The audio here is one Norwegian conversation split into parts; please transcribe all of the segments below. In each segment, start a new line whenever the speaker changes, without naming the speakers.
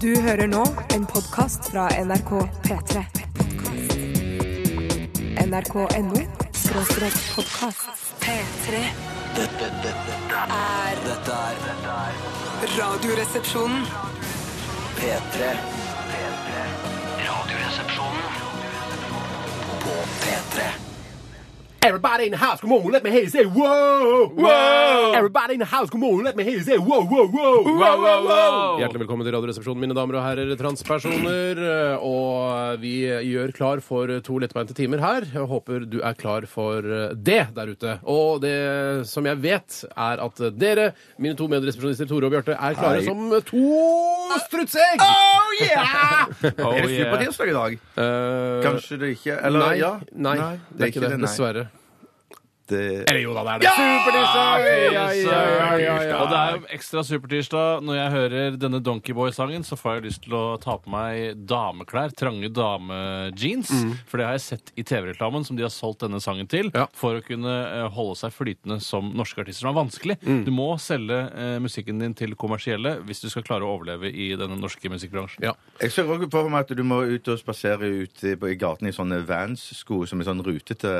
Du hører nå en podkast fra NRK P3. NRK.no skråstrek podkast. P3
Dette, dette, dette,
er
dette er dette er
Radioresepsjonen.
P3. P3. Radioresepsjonen på P3.
Everybody in the house, come on, let me hear you say whoa! Whoa! Everybody in the house, come on, let me hear you say whoa, whoa, whoa! Hjertelig velkommen til Radioresepsjonen, mine damer og herrer, transpersoner. Eh, Og vi gjør klar for to lettbeinte timer her. Jeg håper du er klar for eh, det der ute. Og det som jeg vet, er at dere, mine to medresepsjonister Tore og Bjarte, er klare som to strutseegg!
Oh yeah! er det supertirsdag i dag?
Oh, Eh,
Kanskje det ikke Eller
nei,
ja?
nei, det er ikke det.
nei.
Dessverre.
Det-
Eller jo da, det er det. Supertirsdag! Ja, ja, ja, ja, ja.
Og det er jo ekstra supertirsdag. Når jeg hører denne Donkeyboy-sangen, så får jeg lyst til å ta på meg dameklær. Trange damejeans. For det har jeg sett i TV-reklamen som de har solgt denne sangen til.
Ja.
For å kunne eh, holde seg flytende som norske artister. Det er vanskelig. Du må selge eh, musikken din til kommersielle hvis du skal klare å overleve i den norske musikkbransjen.
Ja.
Jeg ser også på meg at du må ut og spasere ute på- i gaten i sånne Vans-sko som er sånn rutete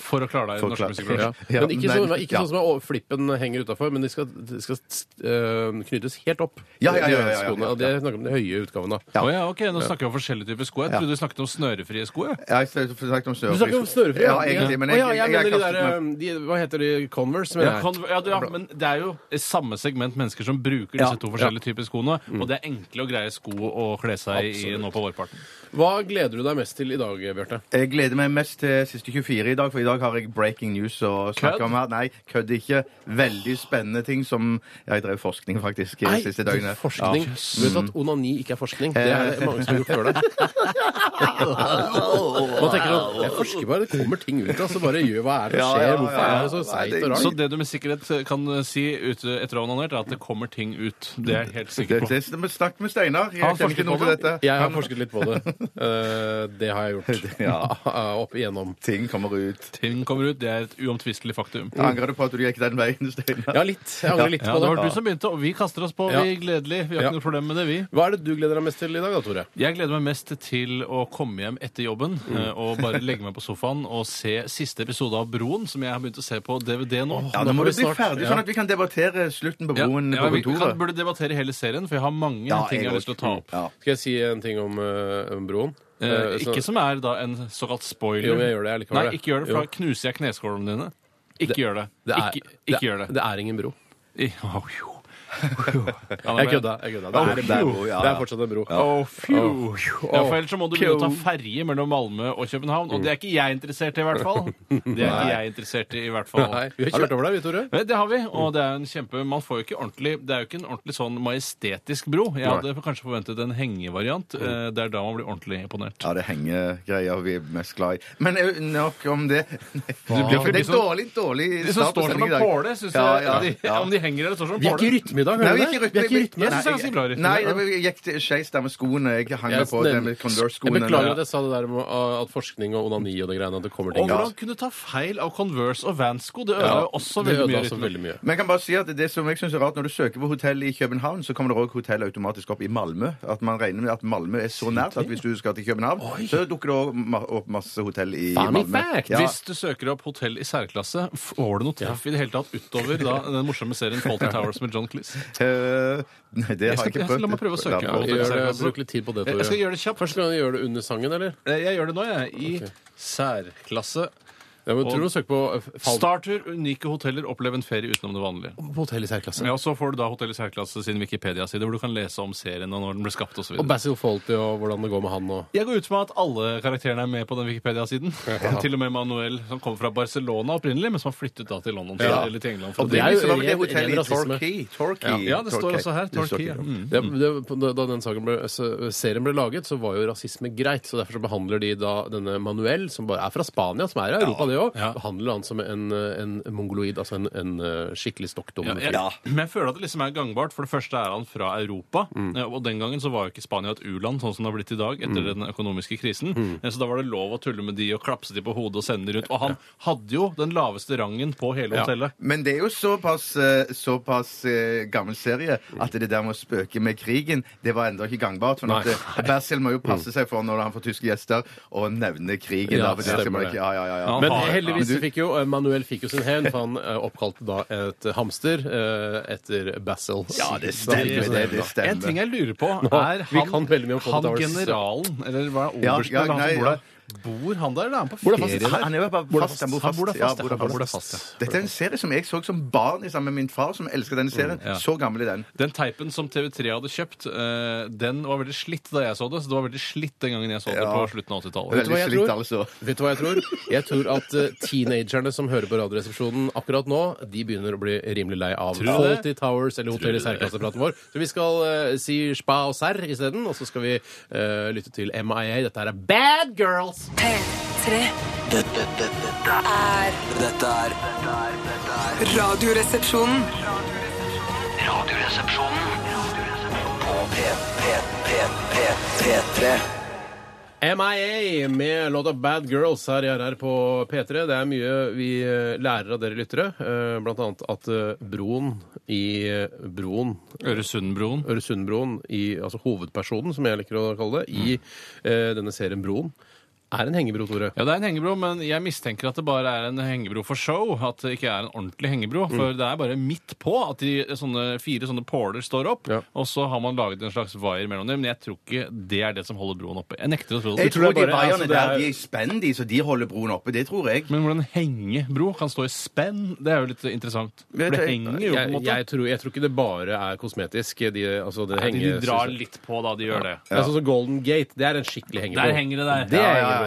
For å klare deg i
For
den
klart.
norske
Ja.
musikkbransjen.
Ja,
Men ikke,
nei,
sånn, ikke
ja.
sånn som er over- flippen henger utafor, men de skal, de skal eh, knyttes helt opp.
Ja, ja, ja, ja, ja,
de
ja.
skoene, og Det er snakk om den høye utgaven, da.
Ja.
Å ja, ok, Nå snakker vi om forskjellige typer sko. Jeg trodde du snakket om snørefrie sko. jeg.
Ja, jeg snakket om snørefri.
Du snakker om snørefri?
Ja, egentlig. Men jeg,
Å, ja, jeg,
jeg
mener de
kastet
der,
meg-
eh, de, Hva heter de? Converse, mener
Ja,
jeg.
kan, ja, du, ja, men det er jo samme segment mennesker som bruker
Ja,
disse to forskjellige typer skoene. Og det er enkle og greie sko å kle seg i nå på vårparten.
Hva gleder du deg mest til i dag, Bjarte?
jeg gleder meg mest til siste 24 i dag, for i dag har jeg breaking news å snakke
Kødd?
om her. Nei, kødd ikke. Veldig spennende ting som Jeg drev forskning, faktisk, i siste døgnet.
forskning.
Ja.
Du vet at onani ikke er forskning? Det er det mange som har gjort før deg. Man tenker sånn Jeg forsker bare. Det kommer ting ut. Altså, bare gjør hva er det som
Ja, ja,
skjer?
ja,
Hvorfor
ja.
er det så
Nei,
seigt
det-
og
Så
rart?
det du med sikkerhet eh, kan si ute etter å ha onanert, er at det kommer ting ut. Det er jeg helt
Det,
sikker på.
det, snakk med Steinar. Jeg
Har han
kjenner ikke
forsket
noe
på
til dette.
Jeg har forsket litt på det. Eh, det har jeg gjort. Ah, Opp igjennom.
Ting kommer ut.
Ting kommer ut, det er et uomtvistelig faktum. Ja,
Angrer du på at du gikk den veien, Steinar?
Ja, litt. Jeg angrer litt
det
på det.
var du som begynte, og vi kaster oss på.
Ja.
Vi er gledelige. Vi har
Ja.
ikke noe problem med det, vi.
Hva er det du gleder deg mest til i dag, da, Tore?
Jeg gleder meg mest til å komme hjem etter jobben eh, og bare legge meg på sofaen og se siste episode av Broen, som jeg har begynt å se på DVD nå.
Ja,
Da
Nå må
får
du
vi
bli
snart-
ferdig,
ja.
sånn at vi kan debattere slutten på
Ja,
broen
ja,
på
vi
kontoret.
kan, burde debattere hele serien, for jeg har mange ting jeg har lyst til å ta opp.
Ja.
Skal jeg si en ting om eh, om broen?
Eh,
så-
ikke som er da en såkalt spoiler.
Jo, men jeg gjør det, jeg likevel.
Nei, ikke gjør det,
Jo.
for da knuser jeg kneskålene dine. Ikke gjør det.
det er,
ikke ikke gjør det.
Det er ingen bro.
I- Å, jo. Ja, men-
Jeg kødda. Jeg kødda. Det,
Å,
er en
det er
bro.
bro, ja,
det
ja.
er fortsatt en bro.
Å, fju. Ja, for ellers så må du begynne å ta ferje mellom Malmö og København, og det er ikke jeg interessert i, i hvert fall. Det er ikke jeg interessert i, i hvert fall.
Nei, vi har kjørt over deg, vi, Tore.
Men Eh, Det har vi,
Mm.
og det er en kjempe Man får jo ikke ordentlig Det er jo ikke en ordentlig sånn majestetisk bro. Jeg hadde kanskje forventet en hengevariant.
Mm.
eh, Det er da man blir ordentlig imponert.
Ja, det henger greier vi er mest glad i. Men eh, nok om det.
blir for
det
de
er
som-
dårlig, dårlig
De som
start på
står som
sending i
en
dag.
påle, syns jeg.
Ja, ja,
de-
ja.
Om de henger eller står som
Vi er ikke i
påle.
rytme i dag.
Nei,
er
vi er ikke i
det? Vi er ikke i rytme.
Jeg syns jeg er ganske glad i
Nei,
rytme.
jeg gikk til skeis der med skoene. Jeg hang
Jeg,
meg på den med
jeg
Converse-skoene.
beklager at jeg sa det der med uh, at forskning og onani og det greiene at det kommer
Og
ting.
hvordan kunne ta feil av Converse og Vans-sko? Det
Ja.
ødela jo
Det
også veldig mye
ødela også
rytme.
veldig mye.
Men jeg kan bare si at det som jeg synes er rart, Når du søker på hotell i København, så kommer det også hotell automatisk opp i Malmö. At Man regner med at Malmö er så nært at hvis du skal til København, så dukker det også ma- opp masse hotell i
Funny
Malmö.
fact.
Ja.
Hvis du søker opp hotell i særklasse, får du noe treff i det hele tatt utover da, den morsomme serien Faulty Towers med John Cleese?
Eh, Nei, det
Jeg
har jeg
skal-
ikke
jeg-
prøvd.
la meg prøve å søke
Ja,
på
Gjør det,
særklasse.
bruk litt tid på det,
Jeg
Tore.
jeg skal gjøre det kjapt.
Først skal du gjøre det under sangen, eller?
Eh, Jeg gjør det nå, jeg. I særklasse.
Ja, men, tror du
Og-
hun søker på eh, fall...
Starter, unike hoteller, opplev en ferie utenom det vanlige.
på hotell i særklasse?
Ja, og Så får du da Hotell i særklasse sin Wikipedia-side, hvor du kan lese om serien og når den ble skapt osv.
Og Basil Fawlty og hvordan det går med han og
Jeg går ut med at alle karakterene er med på den Wikipedia-siden. Til og med Manuel, som kommer fra Barcelona opprinnelig, men som har flyttet da til London.
Ja.
Eller til England.
Og det
er
er
jo
jo det
ren-
hotellet
ren
i
rasisme.
Torquay. Torquay.
Ja, det
Torquay.
står også her.
Det står
Torquay.
ikke, ja.
Mm.
det, det, da den saken ble, s- serien ble laget, så var jo rasisme greit. Så derfor så behandler de da denne Manuel, som bare er fra Spania, som er i Europa, det det òg.
Ja.
Behandler han som en, eh, en mongoloid, altså en, en eh, skikkelig stokkdum.
Ja, jeg, Men jeg føler at det liksom er gangbart. For det første er han fra Europa.
Mm.
eh, Og den gangen så var jo ikke Spania et u-land, sånn som det har blitt i dag etter den økonomiske krisen.
Mm.
Eh, Så da var det lov å tulle med de og klapse de på hodet og sende de rundt. Og han hadde jo den laveste rangen på hele
Ja.
hotellet.
Men det er jo såpass, eh, såpass eh, gammel serie at det der med å spøke med krigen, det var enda ikke gangbart. For
Nei.
at, eh, Basil må jo passe seg for når han får tyske gjester, å nevne krigen.
Ja,
da, for det skal
stemmer det.
man ikke, ja, ja, ja, ja.
Ja,
Men
har-
heldigvis
ja, men du-
fikk jo eh, Manuel fikk jo sin hevn, for han eh, oppkalte da et hamster eh, etter Basil.
Ja, det stemmer,
Så
det- det
bra.
stemmer.
En ting jeg lurer på, er
vi
han,
kan veldig mye om Colin
han
Towers.
generalen, eller hva er
Ja,
obersten,
ja,
eller han
nei,
som bor
ja.
der, bor han der, eller er han på
Bor der
ferie
fast?
der?
Han er jo bare
Bor der
fast. Han bor
Han
fast.
bor der
Ja,
fast,
bor
ja.
der
Han bor der
fast.
fast, ja.
Dette er en serie som jeg så som barn i sammen med min far, som elsker denne serien.
ja.
Så gammel er den.
Den teipen som TV3 hadde kjøpt, eh, den var veldig slitt da jeg så det. Så det var veldig slitt den gangen jeg så det
Ja.
på slutten av 80-tallet.
Veldig
hva jeg
slitt,
tror?
altså.
Vet du hva jeg tror? Jeg tror at eh, teenagerne som hører på Radioresepsjonen akkurat nå, de begynner å bli rimelig lei av
Tror du det?
Fawlty Towers eller Hotell i særklassepraten vår. Så vi skal eh, si spa og serr isteden, og så skal vi eh, lytte til MIA. Dette her er Bad Girls!
P3
Dette, dette, dette er
er
Dette er dette er- dette er
Radioresepsjonen.
Radioresepsjonen på P, P, P, P, P3.
MIA med låta Bad Girls her i RR på P3. Det er mye vi eh, lærer av dere lyttere, eh, blant annet at eh, broen i eh, broen
Øresundbroen.
Øresundbroen, i, altså hovedpersonen, som jeg liker å kalle det, i eh, denne serien Broen, er en hengebro, Tore.
Ja, det er en hengebro, men jeg mistenker at det bare er en hengebro for show. At det ikke er en ordentlig hengebro. For det er bare midt på at de sånne, fire sånne påler står opp,
Ja.
og så har man laget en slags vaier mellom dem. Men jeg tror ikke det er det som holder broen oppe. Jeg nekter å tro det.
Jeg tror de
bare-
vaierne
altså, det er-
der, de er spenn, de, så de holder broen oppe. Det tror jeg.
Men hvordan hengebro kan stå i spenn, det er jo litt interessant.
Men jeg
For det
tenker-
henger jo på
Jeg,
en måte.
jeg, tror, jeg tror ikke det bare er kosmetisk. De, altså, det
Nei, de
henge-
drar litt på da, de gjør det.
Det er sånn som Golden Gate. Det er en skikkelig hengebro.
Der henger det der.
Det er
Ja, ja,
hengebro.
ja,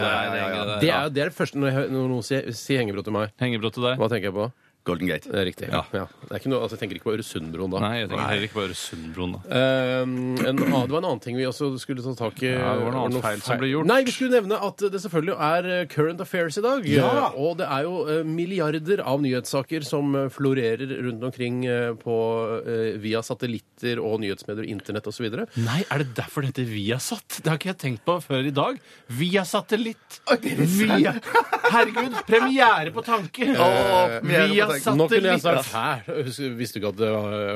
ja, ja, ja, ja.
Det er, det er det første når, jeg, hø- når noen sier, sier hengebro til meg.
Hengebro til deg.
Hva tenker jeg på?
Golden Gate.
Det er riktig. Ja. Det er ikke noe, altså, jeg tenker ikke på Øresundbroen da.
Nei, jeg tenker heller ikke på Øresundbroen. da.
Um, en, annen- det var en annen ting vi også skulle ta tak i.
Ja, det var noe annet feil som ble gjort.
Nei, Vi skulle nevne at det selvfølgelig er eh, current affairs i dag. Eh, Og det er jo eh, milliarder av nyhetssaker som eh, florerer rundt omkring eh, på, eh, via satellitter og nyhetsmedier, internett osv.
Nei, er det derfor det heter Viasat? Det har ikke jeg tenkt på før i dag. Viasatellitt. Via... Herregud, premiere på tanke!
premiere på tanke.
Nå kunne jeg
Viasatellitt.
sagt hæ? Husk- Visste du ikke at det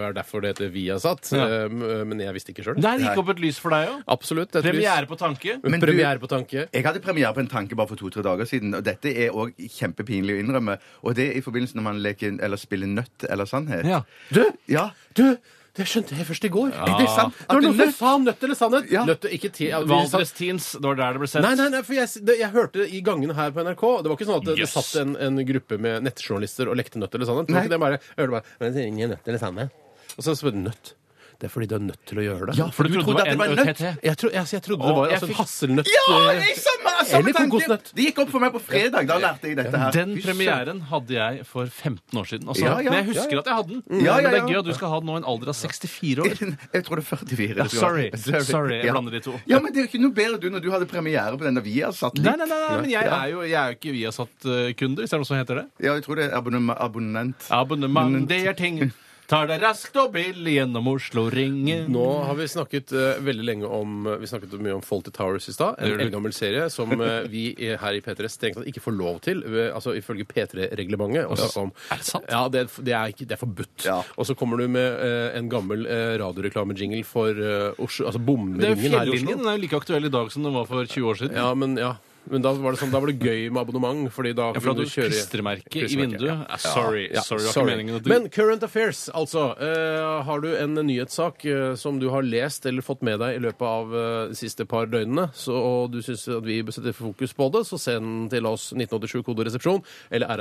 var derfor det heter Viasat?
Ja.
Eh, Men jeg visste ikke sjøl.
Der gikk opp et lys for deg òg.
Absolutt. et
Premiere på tanke.
lys.
Men du-
Premiere på tanke.
Jeg hadde premiere på en tanke bare for to-tre dager siden, og dette er òg kjempepinlig å innrømme. Og det er i forbindelse når man leker eller spiller nøtt eller sannhet.
Ja.
Du!
Ja.
Du, det skjønte jeg først i går.
Er det sant?
Det
At
var
det
noen som
nøtt
sa nøtt eller sannhet.
Ja.
Nøtt og ikke ti... ja, vi sa-
Valdres Teens, det var der det ble sett.
Nei, nei, nei, for jeg, s- det, jeg hørte det i gangene her på NRK. Det var ikke sånn at det, det
Yes.
satt en, en gruppe med nettjournalister og lekte nøtt eller sannhet. Det var
Nei.
ikke det bare, jeg hørte bare "Men det er ingen nøtt eller sannhet. Og så spør du nøtt. Det er fordi du er nødt til å gjøre det.
Ja, for du trodde at det var en nøtt?
Jeg, tro, jeg, jeg trodde
Å,
det var
jeg
altså, en
fikk-
hasselnøtt
Ja!
eh,
Jeg samme, samme
Eller
tanke!
kokosnøtt.
Det gikk opp for meg på fredag. Da lærte jeg dette her.
Den
Fy søren.
premieren hadde jeg for 15 år siden. Også.
Ja, ja,
Men jeg husker at jeg hadde den.
Ja, ja,
Men det er
ja.
gøy at du skal ha den nå i en alder av 64 år.
Jeg tror det er 44.
Ja, sorry.
det skal være.
Sorry, jeg
Ja.
blander de to.
Ja, men det er jo ikke noe bedre du når du hadde premiere på den der vi har satt
Nei,
litt.
nei, nei, nei, men jeg er jo, jeg er jo ikke Viasat-kunde, eh, hvis det er noe som heter det.
Ja, jeg tror det er abonnement. abonnent.
Abonnement, det er ting. Tar deg raskt og billig gjennom Oslo ringe.
Nå har vi snakket eh, veldig lenge om Vi snakket mye om Faulty Towers i stad. En
Gjør du?
eldgammel serie som eh, vi i- her i P3 strengt tatt ikke får lov til, eh, altså ifølge P3-reglementet. å snakke om.
Er det sant?
Ja, det, det, er, ikke, det er forbudt.
Ja.
Og så kommer du med eh, en gammel eh, radioreklamejingle for eh, Oslo, altså
Det er jo
bomringen her i
Fjellinjen.
Oslo.
Den er jo like aktuell i dag som den var for 20 år siden.
Ja, men ja. Men da var det sånn, da var det gøy med abonnement, fordi da
Ja, for at
kunne
du
du kjøre
klistremerke i
Klistremerke,
vinduet. Ah, sorry,
Ja,
sorry, det var ikke
sorry.
meningen at du...
Men current affairs, altså. Eh, har du en nyhetssak eh, som du har lest eller fått med deg i løpet av eh, de siste par døgnene, så, og du syns at vi bør sette fokus på det, så send den til oss 1987koderesepsjon eller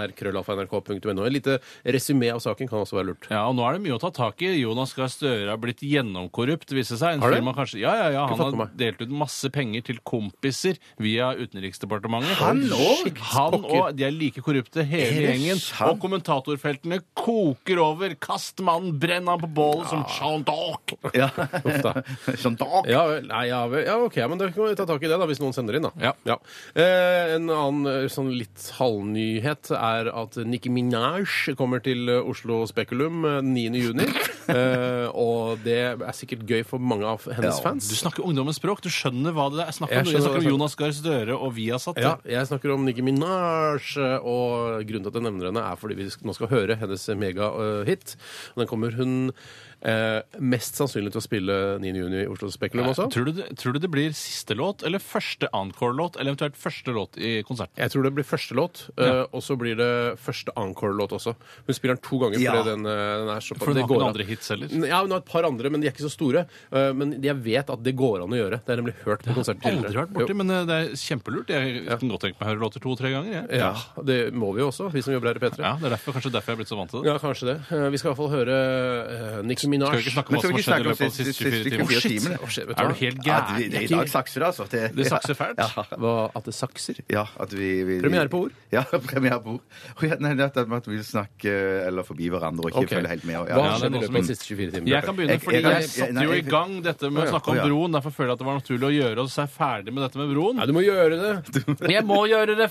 rrkrøllalfa.nrk.no. Et lite resymé av saken kan også være lurt.
Ja, og nå er det mye å ta tak i. Jonas Gahr Støre har blitt gjennomkorrupt, viser det seg. En
Har det?
film han kanskje... Ja, ja, ja.
fått
Han
med
har
meg.
delt ut masse penger til kompiser via utenriksdepartementet.
Han òg?
Shit, Han og de er like korrupte, hele
det
gjengen.
sant?
Og kommentatorfeltene koker over. Kast mannen, brenn han på bålet som Sean Dock!
Ja.
da.
Sånn dag.
Ja vel. Nei, ja vel. Ja, OK, men da kan vi ta tak i det, da, hvis noen sender inn, da.
Ja.
Eh, en annen eh, sånn litt halvnyhet er at Nicki Minaj kommer til eh, Oslo Spekulum eh, 9. juni. Eh, og det er sikkert gøy for mange av hennes
Ja,
fans.
Du snakker ungdommens språk. Du skjønner hva det er. Jeg snakker,
Jeg
om, jeg
skjønner hva
snakker
du
om Jonas Gahr Støre og Viasat.
Ja, jeg snakker om Nicki Minaj, eh, og grunnen til at jeg nevner henne, er fordi vi sk- nå skal høre hennes megahit. Den kommer hun eh, mest sannsynlig til å spille 9. juni i Oslo Spekulum også.
Tror du, det, tror du det blir siste låt, eller første encore-låt, eller eventuelt første låt i konserten?
Jeg tror det blir første låt, eh, og så blir det første encore-låt også. Hun spiller den to ganger
Ja.
fordi den, eh, den er så
For hun
det
har ikke
går
noen
an.
andre hits heller.
Ja, hun har et par andre, men de er ikke så store. Eh, Men jeg vet at det går an å gjøre. Det er nemlig hørt på konsert
Aldri vært borti,
Jo.
men eh, det er kjempelurt. Jeg kan godt tenke meg å høre låter to-tre ganger. Jeg.
Ja, det må vi jo også, vi som jobber her i P3.
Ja, det er derfor, kanskje derfor jeg er blitt så vant til det.
Ja, kanskje det. Eh, Vi skal iallfall høre eh, Nicki Minaj.
Skal vi ikke snakke om
Men
hva som
skal vi
har
ikke
skjedd i løpet av de siste
snakke om
24 timer?
siste 24 timene?
Å, shit, vet du
Er
hva?
du helt
At vi,
gæren?
det, I dag sakser det, altså. Det,
Det sakser fælt.
Ja.
Hva, at det sakser?
Ja, at vi, vi
Premiere på ord?
Ja, premiere på ord. Og ja, nei, det er at vi vil snakke eller forbi hverandre og ikke
Ok.
følge helt med.
Hva
og-
Ja,
har
det er
skjedd i
noe
løpet
som-
av de siste 24 timene?
Jeg kan begynne,
Jeg-
fordi
jeg-
jeg
jeg-
satte
nei,
jo i
jeg-
gang dette med å snakke om
Å, ja.
broen. Derfor føler jeg at det var naturlig å gjøre oss ferdig med dette med broen.
Nei, du må gjøre det!
Jeg må gjøre det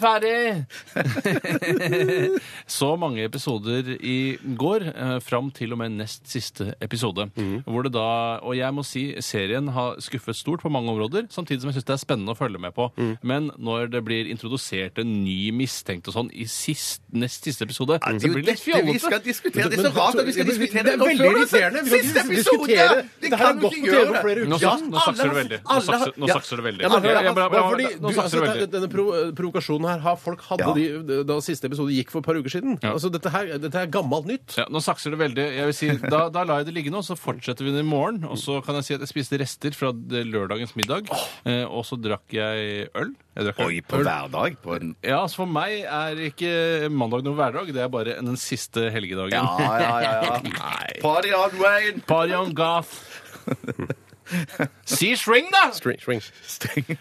ferdig! Så mange episoder i går, eh, fram til og med nest siste episode.
Mhm.
Hvor det da, og jeg må si serien har skuffet stort på mange områder, samtidig som jeg syns det er spennende å følge med på.
Mhm.
Men når det blir introdusert en ny mistenkt og sånn i sist, nest siste episode,
Det
så
er jo
blir det litt
dette vi
fjollete.
skal diskutere. Det er
Men-
så rart at vi skal
Ja, men-
diskutere
det er
nå
veldig
før, altså.
irriterende. Vi kan
Siste
dis- diskutere.
episode, ja.
Dette
Det
her har
kan vi
gått
ikke
på TV
gjøre.
for flere uker.
Nå
Ja,
saks- nå sakser det
alle-
veldig. Nå
alle-
sakser- Nå
ja.
sakser det veldig.
Ja, men hør,
Jeg- jeg
da.
bare- jeg
Bare
bare-
fordi
Nå
du-
sakser det
altså,
veldig.
Denne pro- provokasjonen her har folk hatt
Ja.
de- da siste episode gikk for et par uker siden.
Ja.
Altså, dette her dette er gammelt nytt.
Ja, nå sakser det veldig. Jeg vil si, da, da lar jeg det ligge nå, så fortsetter vi det i morgen. Og så kan jeg si at jeg spiste rester fra det- lørdagens middag. Eh, og så drakk jeg øl. Jeg drakk
Oi, på hverdag. På en
Ja, så for meg er ikke mandag noen hverdag. Det er bare den siste helgedagen.
Ja, ja, ja. ja. Party on, Wayne!
Party on goth. Si string, da!
String, string.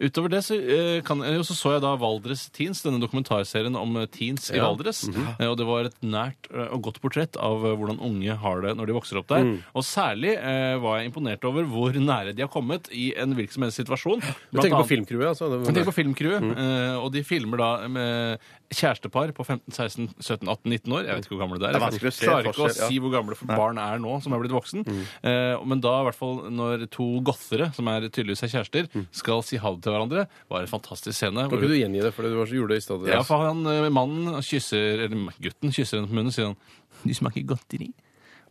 Utover det så, eh, kan, eh, jo, så så jeg da Valdres Teens, denne dokumentarserien om eh, teens i
Ja. Mhm.
Valdres. Eh, Og det var et nært eh, og godt portrett av eh, hvordan unge har det når de vokser opp der.
Mm.
Og særlig eh, var jeg imponert over hvor nære de har kommet i en virksomhetssituasjon.
Du tenker på filmcrewet, altså? Det var-
Jeg tenker på filmcrewet,
Mm.
eh, og de filmer da med kjærestepar på 15, 16, 17, 18, 19 år. Jeg vet ikke hvor gamle de er.
Det er vanskelig å se
Jeg klarer ikke å
forskjell, ja. Mm.
si hvor gamle for barn er nå, som er blitt voksen. Eh, Men da, i hvert fall når to gothere, som er tydeligvis er kjærester,
Mm.
skal si ha det til hverandre, var en fantastisk scene.
Kan
hvor-
ikke du gjengi det, for du var så- gjorde det i stedet?
Ja, for han, eh, mannen kysser, eller gutten kysser henne på munnen og sier han, du smaker godteri.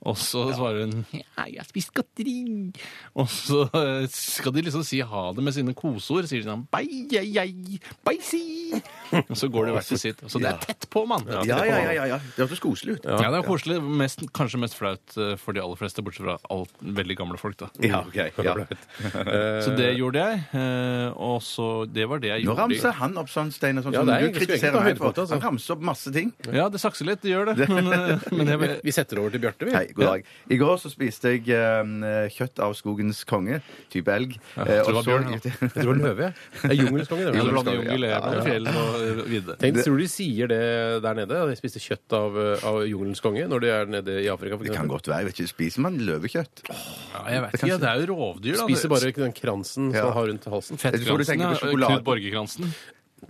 Og så svarer hun ja, jeg har spist godteri. Og så eh, skal de liksom si ha det med sine koseord. Sier de sånn «Beieiei, beisi. Og så går de hvert til sitt. Så det er tett på, mann. Det er
Ja,
tett på,
ja,
mann.
ja. ja, ja. Det hørtes koselig ut.
Ja, det er koselig. Mest, kanskje mest flaut eh, for de aller fleste, bortsett fra alt, veldig gamle folk. da.
Ja, ok. Ja.
Så det gjorde jeg. eh, Og så Det var det jeg
Nå
gjorde.
ramser han opp sånn, Steinar, sånn
Ja,
som
det er
du
egentlig- skal
kritiserer
egentlig ta
meg
høydepunkt,
for.
altså.
Han ramser opp masse ting.
Ja, det sakser litt. Det gjør det. Men, eh, men jeg,
Vi setter over til Bjarte,
Mm.
vi.
Hei, god dag. I går så spiste jeg eh, kjøtt av skogens konge, type elg. Eh,
jeg tror det
og
var
så-
bjørn, ja.
Jeg tror det er løve, jeg. Det er jungelkongen. det er
Ja,
vel.
du blander
skal vi-
jungel,
ja,
jeg blander fjell og eh, vidde.
Tenk, tror du de sier det der nede? At de spiste kjøtt av, eh, av jungelens konge når de er nede i Afrika? For
Det kan
eksempel?
godt være. jeg vet ikke, Spiser man løvekjøtt?
Ja, jeg vet ikke, det er jo rovdyr, da.
Spiser bare ikke den kransen som
Ja.
han har rundt halsen.
Jeg tror du
Fettkransen,
tenker på
ja.
sjokolade.
Knut Borge-kransen.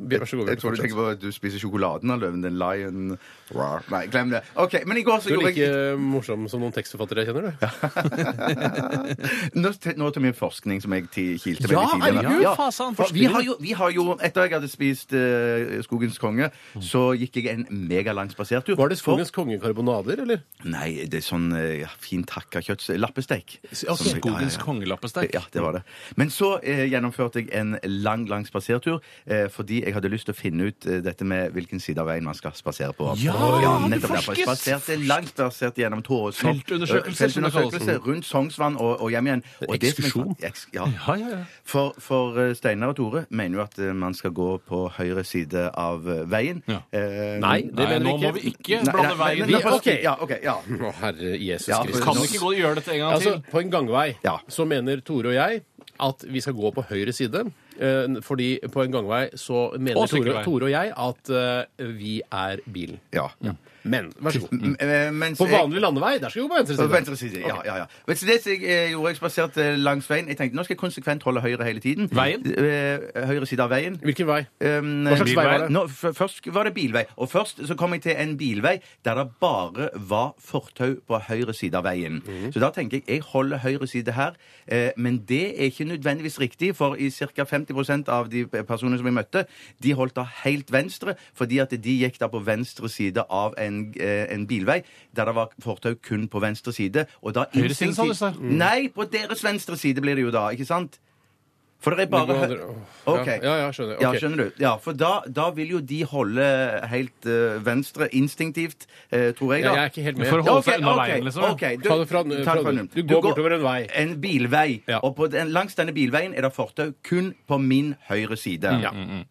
Vær så god.
Jeg tror du tenker på at du spiser sjokoladen av løven. Den lion Rar. Nei, glem det. OK, men i går så
Du er
gjorde jeg
like morsom som noen tekstforfattere jeg kjenner, du.
Nå, til- nå til min forskning som jeg ti- kilte
Ja,
veldig tidlig med.
herregud, fasan,
for vi
forskning.
har, jo, vi har jo Etter jeg hadde spist eh, Skogens konge,
Mm.
så gikk jeg en megalang spasertur.
Var det
For-
Skogens kongekarbonader, eller?
Nei, det er sånn eh, ja, fint hakka kjøtt. så- Lappesteik. Som- ja, ja,
Skogens
ja.
kongelappestek.
Ja, det var det. Men så eh, gjennomførte jeg en lang, lang spasertur eh, fordi jeg hadde lyst til å finne ut eh, dette med hvilken side av veien man skal spasere på.
Ja, du
nettopp derfor. Jeg
forskes!
spaserte langt spaserte gjennom Tåresund. eh,
Feltundersøkelser, som det kalles.
Feltundersøkelse rundt Sognsvann og, og hjem igjen. Og det som er-
Ekskursjon.
eks- Ja.
Ja, ja, ja.
For, for eh, Steinar og Tore mener jo at eh, man skal gå på høyre side av eh, veien.
Ja.
Eh,
Nei, det
Nei,
mener
nå må
vi
vi
ikke.
ikke
nei,
blande
nei,
vei.
men-
Vi
men- men-
ok.
Ja, ok, ja.
Å, herre Jesus
Ja, for-
Kristus.
kan ikke gå og gjøre dette en gang
Altså,
til.
på en gangvei
Ja.
så mener Tore og jeg at vi skal gå på høyre side. Eh, Fordi på en gangvei så mener
Og
Tore,
sykkelvei.
Tore og jeg at eh, vi er bilen.
Ja.
Men vær så god.
Eh, mens
På
jeg-
vanlig landevei, der skal vi gå på venstre
På
side.
venstre side, ja, ja, ja. Vet du, det som jeg eh, gjorde, jeg spaserte langs veien. Jeg tenkte nå skal jeg konsekvent holde høyre hele tiden.
Veien?
Eh, Høyre side av veien.
Hvilken vei?
Um,
Hva slags vei var det?
Nå, f- først var det bilvei. Og først så kom jeg til en bilvei der det bare var fortau på høyre side av veien.
Mhm.
Så da tenker jeg jeg holder høyre side her. Eh, men det er ikke nødvendigvis riktig, for i ca. 50 av de personene som jeg møtte, de holdt da helt venstre, fordi at de gikk da på venstre side av en, eh, en bilvei der det var fortau kun på venstre side. Og da
Høyre side, sa du, sa?
instinktivt- Nei, på deres venstre side blir det jo da, ikke sant? For det er bare
Det går
hø-
andre-
Ok.
Ja, ja, ja, skjønner.
Ja,
Ok.
skjønner du. Ja, for da, da vil jo de holde helt eh, venstre instinktivt, eh, tror jeg.
Ja,
da.
jeg er ikke helt med.
For å holde
Ok,
seg unna
ok,
veien, liksom.
ok. Du,
Ta det fra-
ta
fra-
den.
du går bortover en vei.
En bilvei.
Ja.
Og på den, langs denne bilveien er det fortau kun på min høyre side.
Mm,
Ja.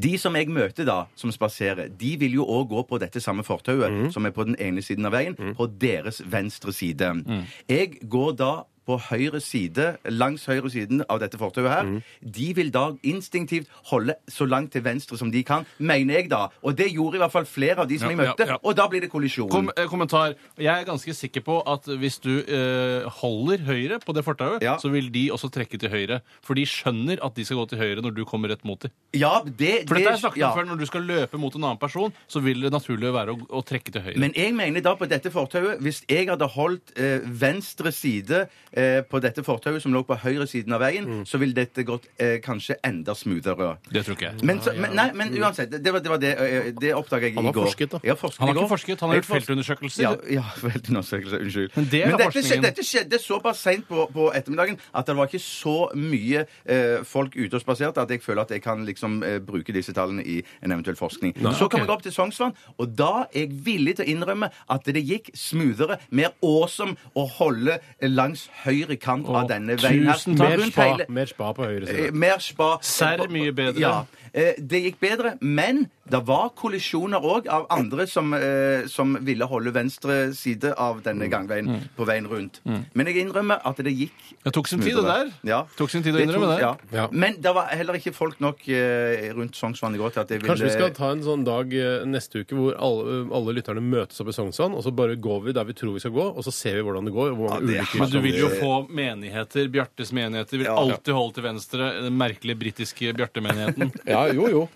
De som jeg møter da, som spaserer, de vil jo òg gå på dette samme fortauet,
Mm.
som er på den ene siden av veien, på deres venstre side.
Mm.
Jeg går da på høyre side, langs høyre siden av dette fortauet her.
Mm.
De vil da instinktivt holde så langt til venstre som de kan, mener jeg da. Og det gjorde i hvert fall flere av de som
Ja,
jeg møtte,
ja, ja.
og da blir det kollisjon.
Kom, eh, kommentar. Jeg er ganske sikker på at hvis du eh, holder høyre på det fortauet,
Ja.
så vil de også trekke til høyre. For de skjønner at de skal gå til høyre når du kommer rett mot dem.
Ja, det,
For dette har jeg snakket
ja.
om før. Når du skal løpe mot en annen person, så vil det naturlige være å, å trekke til høyre.
Men jeg mener da på dette fortauet Hvis jeg hadde holdt eh, venstre side eh, på dette fortauet som lå på høyre siden av veien,
Mm.
så ville dette gått eh, kanskje enda smoothere.
det tror ikke jeg.
Men, så, men, nei,
Mm.
men uansett, det var det, var det, eh, det oppdaga jeg i
Han
går.
har forsket, da.
Jeg har forsket
han
i
har ikke
går.
forsket, han har
Jeg
gjort feltundersøkelser.
ja, ja, feltundersøkelse. Unnskyld.
Men det er da
dette, skjedde,
forskningen.
dette skjedde såpass seint på, på ettermiddagen at det var ikke så mye eh, folk ute og spaserte at jeg føler at jeg kan liksom eh, bruke disse tallene i en eventuell forskning. så kom
ok.
jeg opp til Sognsvann, og da er jeg villig til å innrømme at det gikk smoothere, mer awesome å holde langs høyre kant av denne veien her.
tusen takk.
Mer
Rundt
spa,
hele-
mer spa på høyre
Eh,
side.
Mer spa.
Serr mye bedre.
Ja. Eh, Det gikk bedre, men det var kollisjoner òg av andre som, eh, som ville holde venstre side av
Mm.
denne gangveien på veien rundt. Men jeg innrømmer at det gikk
Det tok sin tid, det der.
Ja.
Tok sin tid å
Det
innrømme det.
tok- Ja.
Ja.
Men det var heller ikke folk nok eh, rundt Sognsvann i går til at jeg ville
Kanskje vi skal ta en sånn dag eh, neste uke hvor alle, alle lytterne møtes opp i Sognsvann, og så bare går vi der vi tror vi skal gå, og så ser vi hvordan det går. og Hvor
Ja,
mange
det er-
ulykker
Men du
som-
vil jo få menigheter. Bjartes menigheter vil
Ja.
alltid holde til venstre. Den merkelige britiske Bjarte-menigheten.
Ja, jo, jo.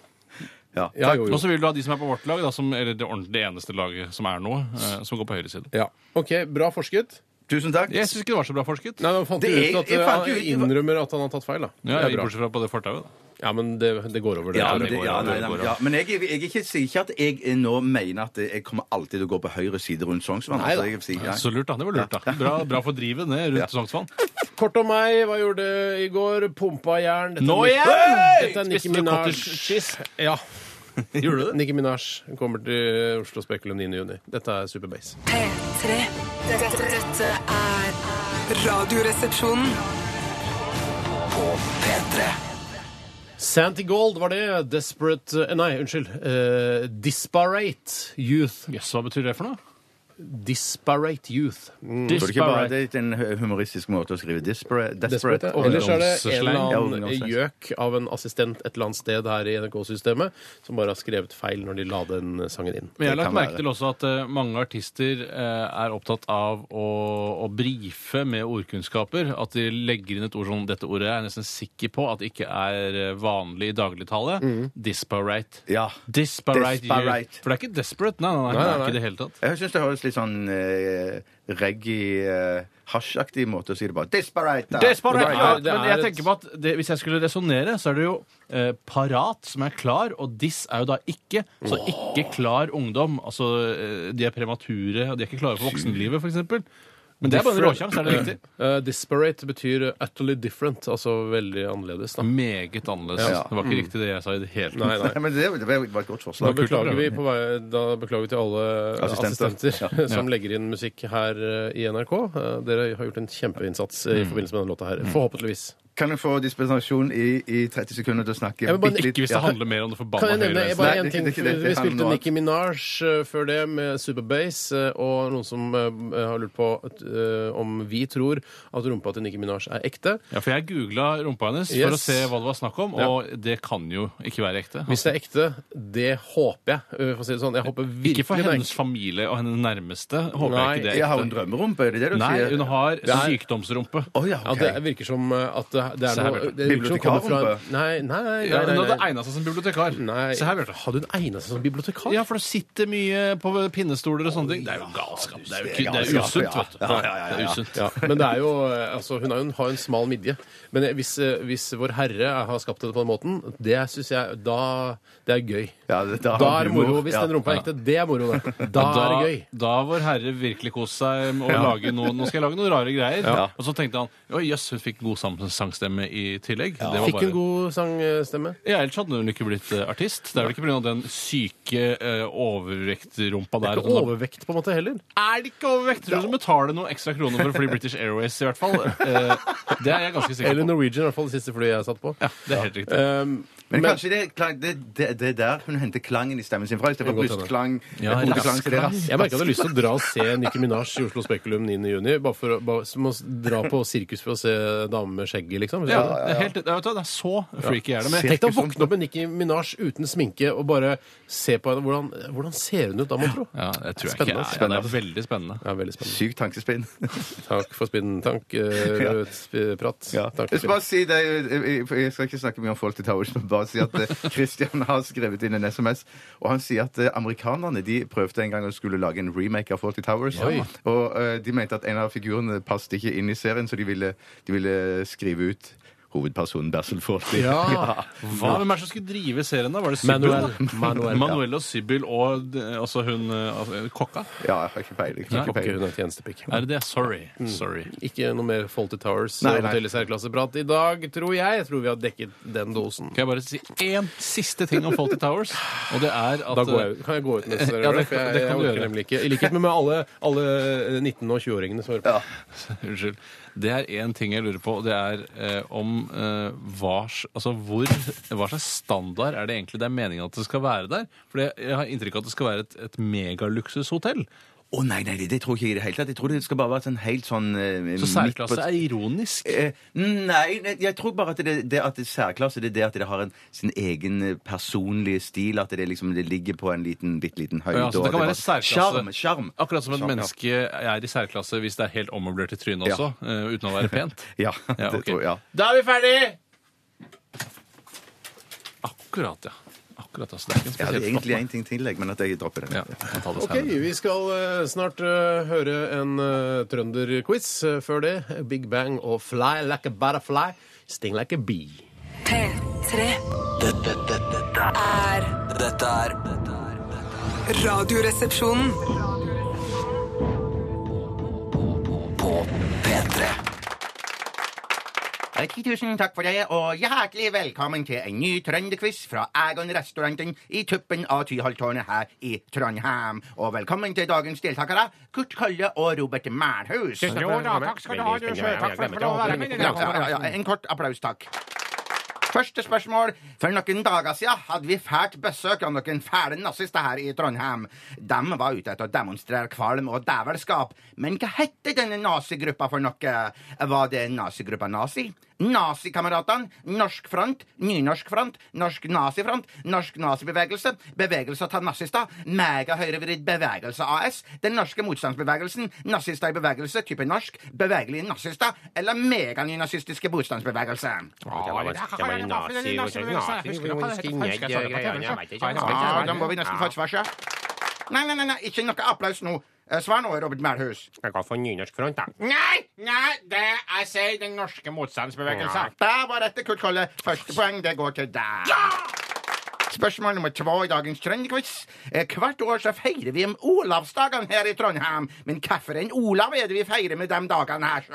Ja.
Ja, jo,
Og så
jo.
vil du ha de som er på vårt lag, da, som, eller det, ordentlig- det eneste laget som er nå, eh, som går på høyre side.
Ja. OK, bra forsket.
Tusen takk.
Jeg syns ikke det var så bra forsket.
Nei, men fant
Det
du
er-
ut at
jeg
eh,
fant
han
jo ut-
innrømmer at han har tatt feil, da.
Ja,
det er bra.
bortsett fra på det fortauet, da.
Ja, men det, det går over, det.
Ja,
det,
men, det,
går
ja,
an,
nei,
det
nei,
går an.
ja, men jeg, jeg, ikke, sier ikke at jeg nå mener at jeg kommer alltid til å gå på høyre side rundt Sognsvann.
Nei da.
altså, jeg sier- nei.
Så lurt, da. Det var lurt, da. Bra, bra for drivet ned rundt Sognsvann.
Kort om meg. Hva gjorde jeg i går? Pumpa jern. Dette er
Nå
Nicki-
igjen!
Dette er Nicki
Spiste du
Minaj.
cottage cheese?
Ja.
Gjorde du det?
Nicki Minaj kommer til Oslo Spekulum 9. juni. Dette er Superbase.
P3. Dette, dette er Radioresepsjonen.
Santi Gold var det. Desperate eh, Nei, unnskyld. Eh, disparate Youth.
Jøss, hva betyr det for noe?
Disparate Youth. Mm.
Burde ikke bare det er en humoristisk måte å skrive dispara-
Desperate.
desperate på?
Ellers er det en
Ungdomsslang.
Ja,
eller annen eh,
ungdomsslang.
gjøk av en assistent et eller annet sted her i NRK-systemet som bare har skrevet feil når de la den sangen inn.
Men jeg har
Det
lagt
kan
merke
være.
til også at eh, mange artister eh, er opptatt av å, å brife med ordkunnskaper. At de legger inn et ord som dette ordet er jeg nesten sikker på at ikke er eh, vanlig i dagligtale. Disparate.
Mm. Ja.
Disparate.
Disparate.
For det er ikke desperate. Nei, nei, nei,
Nei, nei,
det er
nei.
ikke i det hele tatt.
Jeg syns det høres litt sånn eh, reggae-hasjaktig måte å si det på. Disparate! da.
Desperate,
Det er-
ja,
det er
men jeg
et-
tenker på at det, Hvis jeg skulle resonnere, så er det jo eh, parat, som er klar, og diss er jo da ikke. Så ikke klar ungdom. Altså, eh, de er premature, og de er ikke klare for voksenlivet, f.eks. Men det er bare en råsjanse, er det riktig?
Eh, disparate betyr utterly different, altså veldig annerledes.
Mm.
Da.
Meget annerledes.
Ja.
Det var ikke riktig det jeg sa i det hele tatt.
Mm. Nei, nei.
Nei, men det, det var et godt
Da
forslag.
beklager, vi på vei, da beklager vi til alle assistenter,
Assistenter.
som legger inn
Mm.
musikk her eh, i NRK. Eh, Dere har gjort en kjempeinnsats eh, i forbindelse med denne låta her. Forhåpentligvis.
Kan jeg få dispensasjon i, i 30 sekunder til å snakke?
Jeg vil bare
bitte litt?
Ikke hvis det
Ja.
handler mer om det
Kan
forbanna
jeg nevne jeg bare
Nei,
en
det er
høyrereisen.
ting?
ikke det, det
Vi
handler
spilte
om noe
Nicki Minaj eh, før det med Superbase, eh, og noen som eh, har lurt på at, eh, om vi tror at rumpa til Nicki Minaj er ekte.
Ja, for jeg googla rumpa hennes for å
Yes.
se hva det var snakk om, og det kan jo ikke være ekte.
Hvis det er ekte, det håper jeg. eh, For å si det sånn. Jeg håper virkelig
Ikke for
det er
hennes
ekte.
familie og hennes nærmeste. Håper
Nei,
jeg ikke det
Jeg
er
har en
ekte.
drømmerumpe, er det det du
Nei,
sier?
hun har
Det er-
sykdomsrumpe.
Å ja,
Ja,
ok.
det virker som eh, at det, det
Se
er
her,
noe
Bjarte.
det virker som kommer fra en-
Bibliotekarrumpe.
Nei, nei, nei.
Ja,
nei,
hun hadde
nei,
egna seg som bibliotekar.
nei.
Se her, Bjarte.
Hadde hun egnet seg som bibliotekar?
Ja, for det sitter mye på pinnestoler og sånne ting. Det er jo galskap. Det er jo, ikke- det er jo
galskap,
usunt,
ja.
vet du.
Ja, ja, ja, ja.
Det er usunt.
Ja, men det er jo, eh, altså, hun har jo en, har jo en smal midje. Men eh, hvis, eh, hvis vår herre er- har skapt det på den måten, det synes jeg da Det er gøy.
Ja, det- da
da,
har
er det
humor.
moro. Hvis
Ja.
den rumpa er ekte, det er moro. Da, da
Da,
er det gøy.
da vår herre virkelig koste seg med å lage noe Nå skal jeg lage noen rare greier. Og så tenkte han Å jøss, hun fikk god sam- sangstemme i tillegg. Det var
Fikk
bare-
hun god sangstemme?
Ja, Ellers hadde hun ikke blitt eh, artist. Det er vel ikke pga. den syke eh, overvektrumpa der.
Ikke overvekt, på en måte, heller.
er sånn det ikke overvekt? Tror du du betaler noen ekstra kroner for å fly British Airways, i hvert fall? Eh, det er jeg ganske sikker
Eller
på.
Norwegian, i hvert fall det siste flyet jeg satt på.
Ja, det er helt riktig.
Um,
Men, kanskje det er, klang- det, det, det er der hun henter klangen i stemmen sin fra, istedenfor
Det kan godt
brystklang.
Ja,
hodeklang, så det er
raskklang.
rass-
jeg merker at jeg hadde lyst til å dra og se Nicki Minaj i Oslo Spekulum 9.6. Bare for å bare, som å s- dra på sirkus for å se damer med skjegg, liksom.
Ja, det, er helt, ja, vet du, hva, det er så freaky er det. Men
Tenk
jeg
deg å
tenker sånn-
våkne opp med Nicki Minaj uten sminke og bare se på henne. Hvordan, hvordan ser hun ut da, mon tro?
ja, det tror jeg
Spennende,
ikke. Ja, det er veldig spennende.
Ja, veldig spennende.
Sykt tankespinn.
Takk eh, for spinntank,
Ja.
rødprat.
Ja.
Takk
Jeg,
for
skal bare si det, jeg, jeg skal ikke snakke mye om folk til Towers, men bare si at eh, Christian har skrevet inn en SMS, og han sier at eh, amerikanerne de prøvde en gang å skulle lage en remake av Forty Towers.
Oi.
Og eh, de mente at en av figurene passet ikke inn i serien, så de ville, de ville skrive ut hovedpersonen Basil Forty.
Ja.
Hva, hvem er det som skulle drive serien, da? Var det Sybil?
Manuel.
da?
Manuel.
Manuel og Sybil og eh, altså hun eh, altså, kokka?
Ja, jeg har ikke peiling. Jeg har ikke
Klokke,
peiling.
hun er tjenestepikk.
Er det det? Sorry. Mm. Sorry.
Ikke noe mer Faulty Towers
Nei,
eh,
nei.
hotell i særklasseprat i dag, tror jeg. Jeg tror vi har dekket den dosen.
Kan jeg bare si én siste ting om Faulty Towers? Og det er at eh,
Da går jeg, ut. kan jeg gå ut neste
Ja,
gang,
det-
for jeg,
det kan
jeg
du
orker
gjøre.
nemlig ikke. I likhet med med alle, alle 19- og 20-åringene som hører på.
Unnskyld. Det er én ting jeg lurer på, og det er eh, om eh, hva, s- altså hvor, hva slags standard er det egentlig det er meningen at det skal være der? For jeg, jeg har inntrykk av at det skal være et, et megaluksushotell.
Å nei, nei, det tror ikke jeg i det hele tatt. Jeg tror det skal bare være sånn helt sånn eh,
Så
midt på-
særklasse er ironisk.
Eh, Nei, nei, jeg tror bare at det, det at det er særklasse, det er det at det har en, sin egen eh, personlige stil. At det liksom det ligger på en liten, bitte liten høyde.
Ja, så
og
det
at
kan være
bare-
særklasse.
Sjarm, sjarm.
Akkurat som et
Sjarm, sånn, ja.
menneske er i særklasse hvis det er helt ommøblert i trynet
Ja.
også, eh, uten å være pent.
Ja,
Ja,
det
ok.
tror jeg. Ja.
Da er vi ferdig! Akkurat, ja. Akkurat, altså. Det er ikke en
Jeg hadde
spesiell
egentlig en ting til, jeg, men at jeg dropper den.
Ja, jeg kan ta det
Ok,
senere.
vi skal eh, snart eh, høre en eh, trønderquiz. Eh, Før det Big Bang og Fly like a butterfly, sting like a bee.
P3
Dette, dette, dette,
er
er- dette er dette er- dette er
Radioresepsjonen.
På P3
Eh, Tusen takk for det, og hjertelig velkommen til en ny trønderquiz fra Egon-restauranten i tuppen av Tyholttårnet her i Trondheim. Og velkommen til dagens deltakere, Kurt Kalle og Robert Mælhus. Jo da, takk skal du ha, du Takk for å være med. Ja, ja, ja, en kort applaus, takk. Første spørsmål. For noen dager siden hadde vi fælt besøk av noen fæle nazister her i Trondheim. De var ute etter å demonstrere kvalm og dævelskap. Men hva hette denne nazigruppa for noe? Var det nazigruppa Nazi? Nazikameratene? Norsk front? Nynorsk front? Norsk nazifront? Norsk nazibevegelse? Bevegelse til nazister? Megahøyrevridd bevegelse AS? Den norske motstandsbevegelsen? Nazister i bevegelse? Type norsk? Bevegelige nazister? Eller meganinynazistiske motstandsbevegelse? Ja, da må vi nesten få et svar, sjø. Nei, nei, nei, nei, ikke noe applaus nå. Eh, Svar nå, Robert Melhus.
Nei, nei, det jeg sier den norske motstandsbevegelsen.
Der var dette, Kurt Kolle. Første poeng, det går til deg. Spørsmål nummer to i dagens Trønderquiz. Eh, Hvert år så feirer vi om Olavsdagene her i Trondheim. Men hvilken Olav er det vi feirer med de dagene her? så?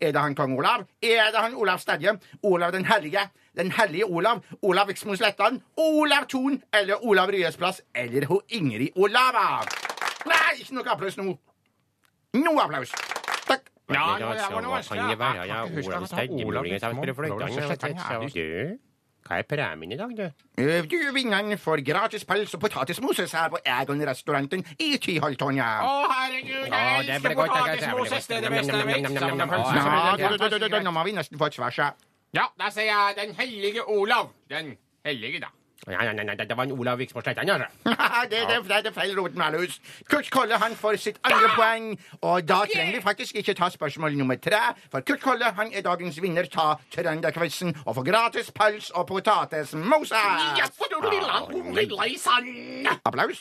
Er det han kong Olav? Er det han Olav Stedje? Olav den hellige? Den hellige Olav? Olav Viksmo Slettan? Olav Thon? Eller Olav Ryes plass? Eller ho Ingrid Olava? Nei, ikke noe applaus nå. Noe applaus. Takk.
Ja, ja, ja, var det verste. Jeg kan ikke huske at han Olav Fitmo-
Hva er premien i dag, du?
Eh, Du vinneren får gratis pels og potetmoses her på Egon-restauranten i Tyholtårnet.
Å, herregud, jeg elsker potetmoses! Det er det beste jeg vet. Samt om pølse, så
Ja,
blir det
du, du, du, du, du,
fantastisk.
Nå må vi nesten få et svar.
Ja, da sier jeg Den hellige Olav. Den hellige, da.
Nei, nei, nei, nei, det var en Olav Viksborg Slettan, altså.
Haha, det, det, det, det er feil rotmalus. Kurt Kolle han får sitt andre poeng, og da trenger vi faktisk ikke ta spørsmål nummer tre, for Kurt Kolle han er dagens vinner av Trønderquizen og får gratis pøls og potetmose. Applaus.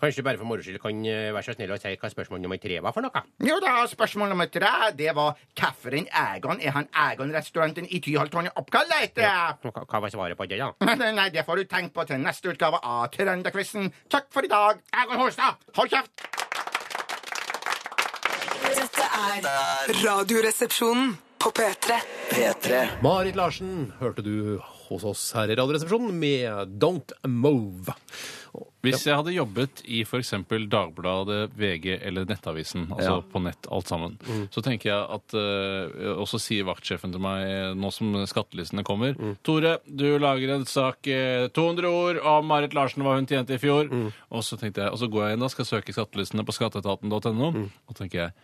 Kanskje du bare for moro skyld kan eh, være så snill å si hva spørsmål nummer tre var for noe?
Jo da, spørsmål nummer tre, det var hvilken Egon er han Egon-restauranten i Tyholttårnet oppkalt etter?
Hva hva var svaret på det, da?
Nei, nei, det får du tenkt på til neste utgave av Trønderquizen. Takk for i dag.
Egon Holstad.
Hold kjeft!
Dette er
er
Radioresepsjonen på P3.
P3
Marit Larsen hørte du hos oss her i Radioresepsjonen med Don't Move.
Hvis jeg hadde jobbet i f.eks. Dagbladet, VG eller Nettavisen, altså på nett alt sammen, så tenker jeg at eh, Og så sier vaktsjefen til meg, eh, nå som skattelistene kommer, Tore, du lager en sak eh, 200 ord om Marit Larsen, hva hun tjente i fjor. Og så tenkte jeg, og så går jeg inn og skal søke skattelistene på skatteetaten.no, og tenker jeg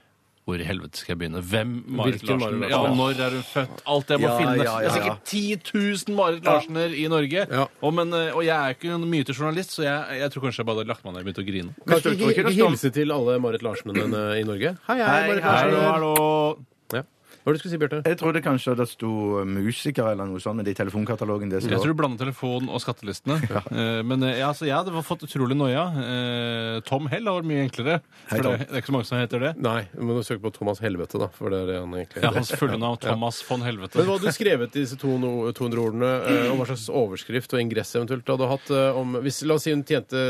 hvor i helvete skal jeg begynne? Hvem Marit
Hvilken
Larsen?
Marit
Ja,
Larsen?
når er hun født? Alt jeg må
Ja,
finne.
ja, ja,
Det er
ja.
sikkert 10 000 Marit Larsener i Norge.
Ja.
Og, men, eh, og jeg er ikke en mytejournalist, så jeg, jeg tror kanskje jeg bare hadde lagt meg ned og begynt å grine.
Kan
Kanskje
ikke
det
vi
står-
hilse til alle Marit Larsenene i Norge? Hei, hei,
Hei,
Marit
hei.
Larsen.
Hallo, hallo.
Ja. Hva var det du skulle si, Bjarte?
Jeg trodde kanskje det sto musiker eller noe sånt, men det er i telefonkatalogen det
Jeg
står.
tror du blander telefonen og skattelistene. Eh, Men eh, ja, så jeg hadde fått utrolig noia. Eh, Tom Hell har vært mye enklere.
Hei,
For
Tom.
det, det er ikke så mange som heter det.
Nei, men du søker på Thomas Helvete, da. For det er det han egentlig
Ja, hans fulle navn Thomas von Helvete.
Men hva hadde du skrevet i disse 200 200 ordene, eh, og hva slags overskrift og ingress eventuelt hadde du hatt eh, om hvis, La oss si hun tjente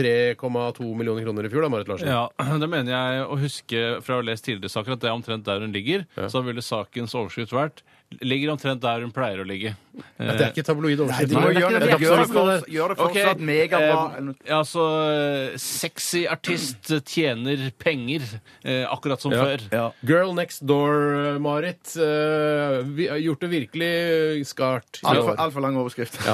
3,2 millioner kroner i fjor, da, Marit Larsen.
Ja, det mener jeg å huske fra å ha lest tidligere saker at det er omtrent der hun ligger. Så ville sakens overskrift vært Ligger omtrent der hun pleier å ligge.
Nei, Det er ikke tabloid overskrift.
Du
Nei,
må
det er ikke
gjøre det,
det.
gjør det,
Dagsavisen hadde-
fortsatt, gjør det fortsatt
Ehm,
megabra. eller noe.
Eh, altså, eh, sexy artist tjener penger, eh, akkurat som
Ja.
før.
Ja.
Girl Next Door, Marit. eh, vi har gjort det virkelig eh, skarpt. i
Altfor
år.
alt for lang overskrift.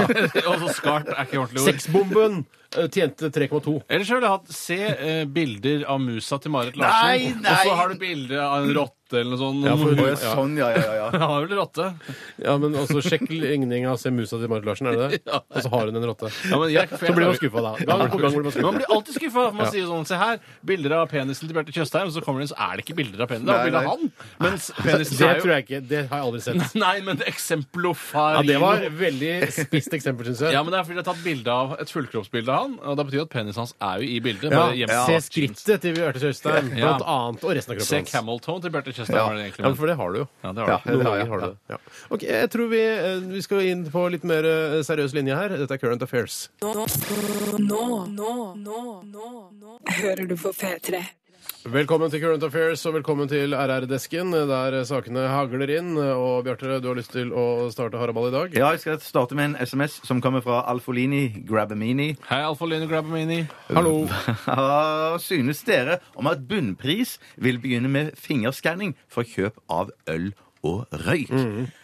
Og så skart er ikke ordentlig ord.
Sexbomben eh, tjente 3,2.
Ellers så ville jeg hatt se eh, bilder av musa til Marit Larsen.
Nei, nei.
Og så har du bilde av en rotte eller noe sånt.
Ja, for hun-
Å, ja, Sånn, ja, ja, ja.
Ja, har vel rotte.
Ja, men altså, Sjekk ligninga Se musa til Marit Larsen, er det det? Og så har hun en rotte.
Ja, men jeg- for
Så
jeg-
blir man skuffa, da. Gang på gang blir man
Men Man
skuffa.
blir alltid skuffa. Man sier sånn Se her, bilder av penisen til Bjarte Tjøstheim, og så kommer det en, så er det ikke bilder av penisen. Det er
Nei,
bilde av
nei.
han. Mens
Det
penisen er
tror
jo
jeg ikke. Det har jeg aldri sett.
Nei, men det er
Ja,
eksemplofarino.
Det var et veldig spist eksempel, syns jeg.
Ja, men det er fordi jeg har tatt bilde av et fullkroppsbilde av han, og det betyr at penisen hans er jo i bildet.
Ja,
bare
Se
gjemt bak jeans.
skrittet til Bjarte Tjøstheim,
Ja.
blant annet, og resten av
Se
kroppen hans.
Camelton til Bjarte Tjøstheim. var det egentlig
Ja,
mente.
for det har du jo.
Ja, det var det.
Noen ganger har du det. Ja. Ok, Jeg tror vi, eh, vi skal inn på litt mer eh, seriøs linje her. Dette er Current Affairs.
Nå. Nå. Nå. Nå. Nå. Hører du på P3.
Velkommen til Current Affairs og velkommen til RR-desken, der sakene hagler inn. Eh, Og Bjarte, du har lyst til å starte haraball i dag?
Ja, jeg skal starte med en SMS som kommer fra Alfolini Grabamini.
Hei, Alfolino Grabamini.
Hallo!
Hva synes dere om at bunnpris vil begynne med fingerskanning for kjøp av øl og røyk?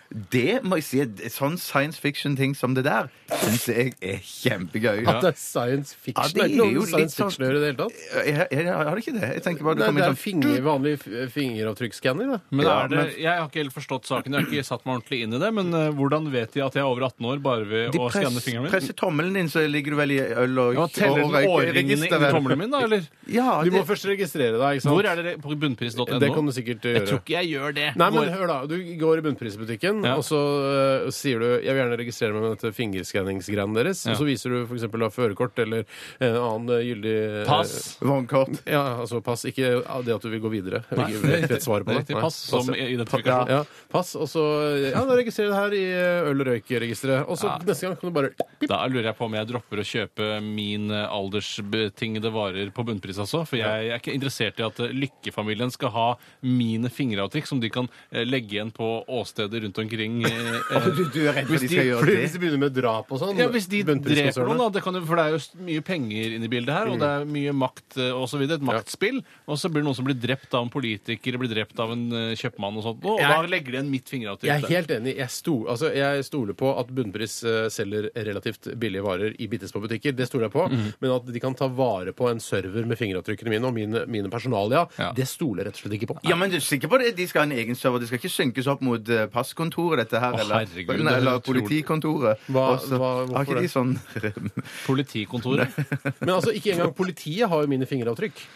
Det må jeg si, det- sånn science fiction-ting som det der, syns jeg er kjempegøy.
At det er science fiction?
Ja, det
det er ikke
er
noe
jo
med science
litt sånn-
fiction å gjøre i det hele tatt?
Jeg, jeg, jeg har ikke det. Jeg tenker bare det
Nei,
kommer
det
inn
er
sånn
finger, vanlig f- fingeravtrykksskanner, da.
Men
Ja,
er det,
men-
jeg har ikke helt forstått saken. Jeg har ikke satt meg ordentlig inn i det. Men eh, hvordan vet de at jeg er over 18 år bare ved
De
å skanne
press,
fingeren min?
presser tommelen din, så ligger du vel i øl- og,
Ja, teller
og
den årringene
røykeregisteret.
inni tommelen min, da, eller?
Ja,
Du må
det,
først registrere deg, ikke sant?
Hvor er det på bunnpris.no?
Det kan du sikkert eh,
Jeg tror
gjøre.
ikke jeg gjør det.
Nei, men
Hvor-
hør da, Du går i bunnprisbutikken,
Ja.
og så eh, sier du jeg vil gjerne registrere meg med dette fingerskanningsgreiene deres.
Ja.
Og så viser du f.eks. førerkort eller en annen eh, gyldig eh,
Pass.
vognkort.
Ja, altså pass. Ikke ah, det at du vil gå videre.
Nei,
Ikke vet vet svaret på det.
riktig.
Nei,
Pass som
ja.
identifikasjon.
ja, pass, og så eh, ja, da registrerer du det her i eh, øl- og røykregisteret. Og så neste gang kan du bare pip.
Da lurer jeg på om jeg dropper å kjøpe min eh, aldersbetingede varer på bunnpris, altså. For jeg er ikke interessert i at eh, lykkefamilien skal ha mine fingeravtrykk som de kan eh, legge igjen på åsteder rundt omkring eh,
Du, du er redd for
Hvis
de
de-
skal gjøre
Fordi
det?
hvis de begynner med drap og sånn
Ja, Hvis de dreper
bunnpriskonsernet.
noen, da. Det kan jo, for det er jo s- mye penger inne i bildet her,
Mm.
og det er mye makt eh, og så videre. Et maktspill. Og så blir det noen som blir drept av en politiker, blir drept av en eh, kjøpmann og sånt. Og da legger de igjen mitt fingeravtrykk.
Jeg er
der.
helt enig. Jeg, sto, altså, jeg stoler på at Bunnpris eh, selger relativt billige varer i bitte små butikker. Det stoler jeg på.
Mhm.
Men at de kan ta vare på en server med fingeravtrykkene mine og mine, mine personalia,
Ja.
det stoler jeg rett og slett ikke på.
Ja, men du er sikker på det? De skal ha en egen server. Det skal ikke synkes opp mot eh, passkontoret, dette her,
Å,
eller,
herregud, det
nei,
er
eller
helt utrolig.
politikontoret.
Hva-
Også-
hva-
har ikke de sånn
Politikontoret.
Men altså, ikke engang politiet har jo mine fingeravtrykk.